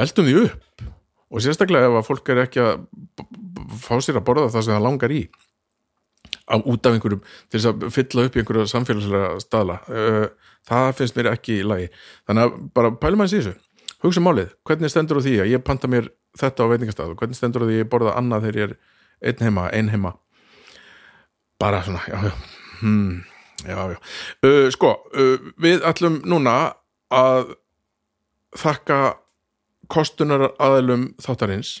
Speaker 1: veltum því upp og sérstaklega ef að fólk er ekki að b- b- fá sér að borða það sem það langar í á, út af einhverjum til þess að fylla upp í einhverja samfélagslega staðla uh, það finnst mér ekki í lagi þannig að bara pælum hans í þessu hugsa um málið, hvernig stendur á því að ég panta mér þetta á veitingastað og hvernig stendur á því að ég borða annað þegar ég er einn heima, ein heima bara svona, já, já hmm, já, já uh, sko, uh, við ætlum núna að þakka kostunar aðalum þáttarins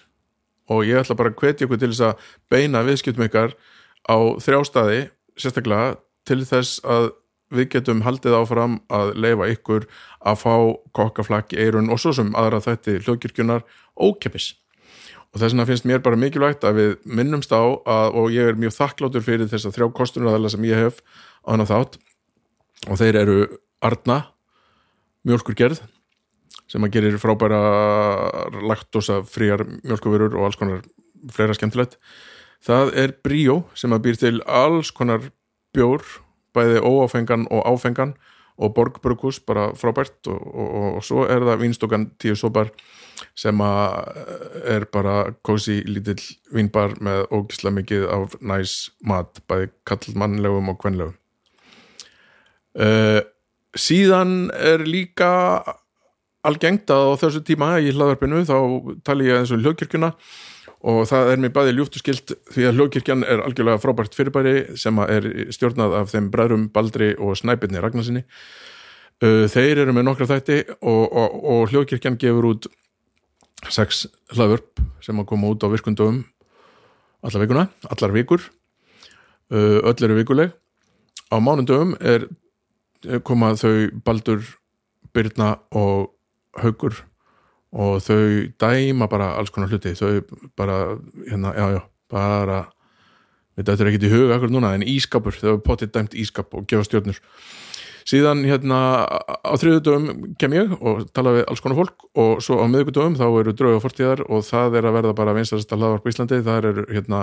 Speaker 1: og ég ætla bara að hvetja ykkur til þess að beina viðskiptum ykkar á þrjá staði sérstaklega til þess að við getum haldið áfram að leifa ykkur að fá kokkaflakk í eirun og svo sem aðra þætti hljókirkjunar ókeppis og þess vegna finnst mér bara mikilvægt að við minnumst á að, og ég er mjög þakkláttur fyrir þess að þrjá kostunaraðala sem ég hef á hana þátt og þeir eru Arna mjólkurgerð sem að gerir frábæra laktosa fríar mjölkuverur og alls konar fleira skemmtilegt það er Brio sem að býr til alls konar bjór bæði óáfengan og áfengan og borgbrukus bara frábært og, og, og, og svo er það vínstokkan tíu sopar sem að eh, er bara kósi lítill vínbar með ógisla mikið af næs mat bæði kallmannlegum og kvenlegum uh, síðan er líka algengt að á þessu tíma í hlaðarpinu þá tali ég eins og hljókirkjuna og það er mér bæði ljúft og skilt því að hljókirkjan er algjörlega frábært fyrirbæri sem að er stjórnað af þeim bræðrum Baldri og Snæbjörni Ragnarsinni Uh, þeir eru með nokkra þætti og, og, og hljókirkjan gefur út sex hlaðvörp sem að koma út á virkundum allar vikuna, allar vikur uh, öll eru vikuleg á mánundum er koma þau Baldur Birna og haugur og þau dæma bara alls konar hluti þau bara, hérna, já, já, bara við dættur ekkert í huga akkur núna en ískapur, þau hafa potið dæmt ískap og gefa stjórnur síðan hérna á þriðudöfum kem ég og tala við alls konar fólk og svo á miðvikudöfum þá eru drauga fortíðar og það er að verða bara vinstasta hlaðvarp í Íslandi, það eru hérna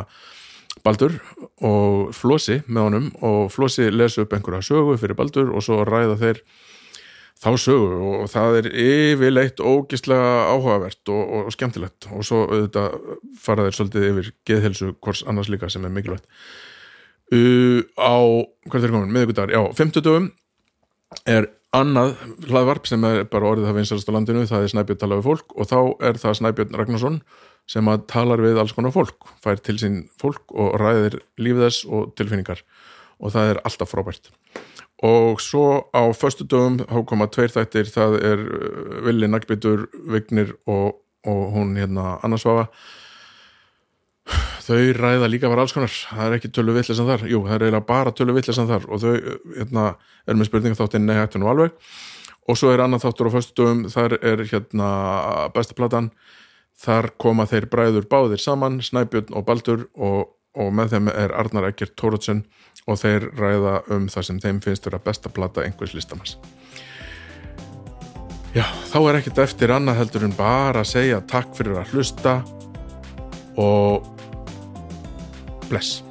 Speaker 1: Baldur og Flósi með honum og Flósi lesi upp einhverja sögu fyrir Baldur og svo ræða þeir þá sögu og það er yfirleitt ógislega áhugavert og, og, og skemmtilegt og svo auðvitað fara þeir svolítið yfir geðhelsu hvors annars líka sem er mikilvægt uh, á, hvað er komin, miðvikudagur já, 50 dögum er annað hlaðvarp sem er bara orðið það vinsalast á landinu, það er Snæbjörn tala við fólk og þá er það Snæbjörn Ragnarsson sem að talar við alls konar fólk fær til sín fólk og ræðir lífið þess og tilfinningar og það er alltaf frábært og svo á föstu dögum þá koma tveir þættir, það er uh, Villi Naglbytur, Vignir og, og hún hérna annarsvafa þau ræða líka var alls konar, það er ekki tölu vitlesan þar jú, það er eiginlega bara tölu vitlesan þar og þau uh, hérna, er með spurninga þáttinn nei hættu nú alveg og svo er annað þáttur á föstu dögum, þar er hérna besta platan þar koma þeir bræður báðir saman Snæbjörn og Baldur og, og með þeim er Arnar Ekkert Tóruðsson og þeir ræða um það sem þeim finnst vera besta plata einhvers listamanns Já, þá er ekkert eftir annað heldur en bara að segja takk fyrir að hlusta og bless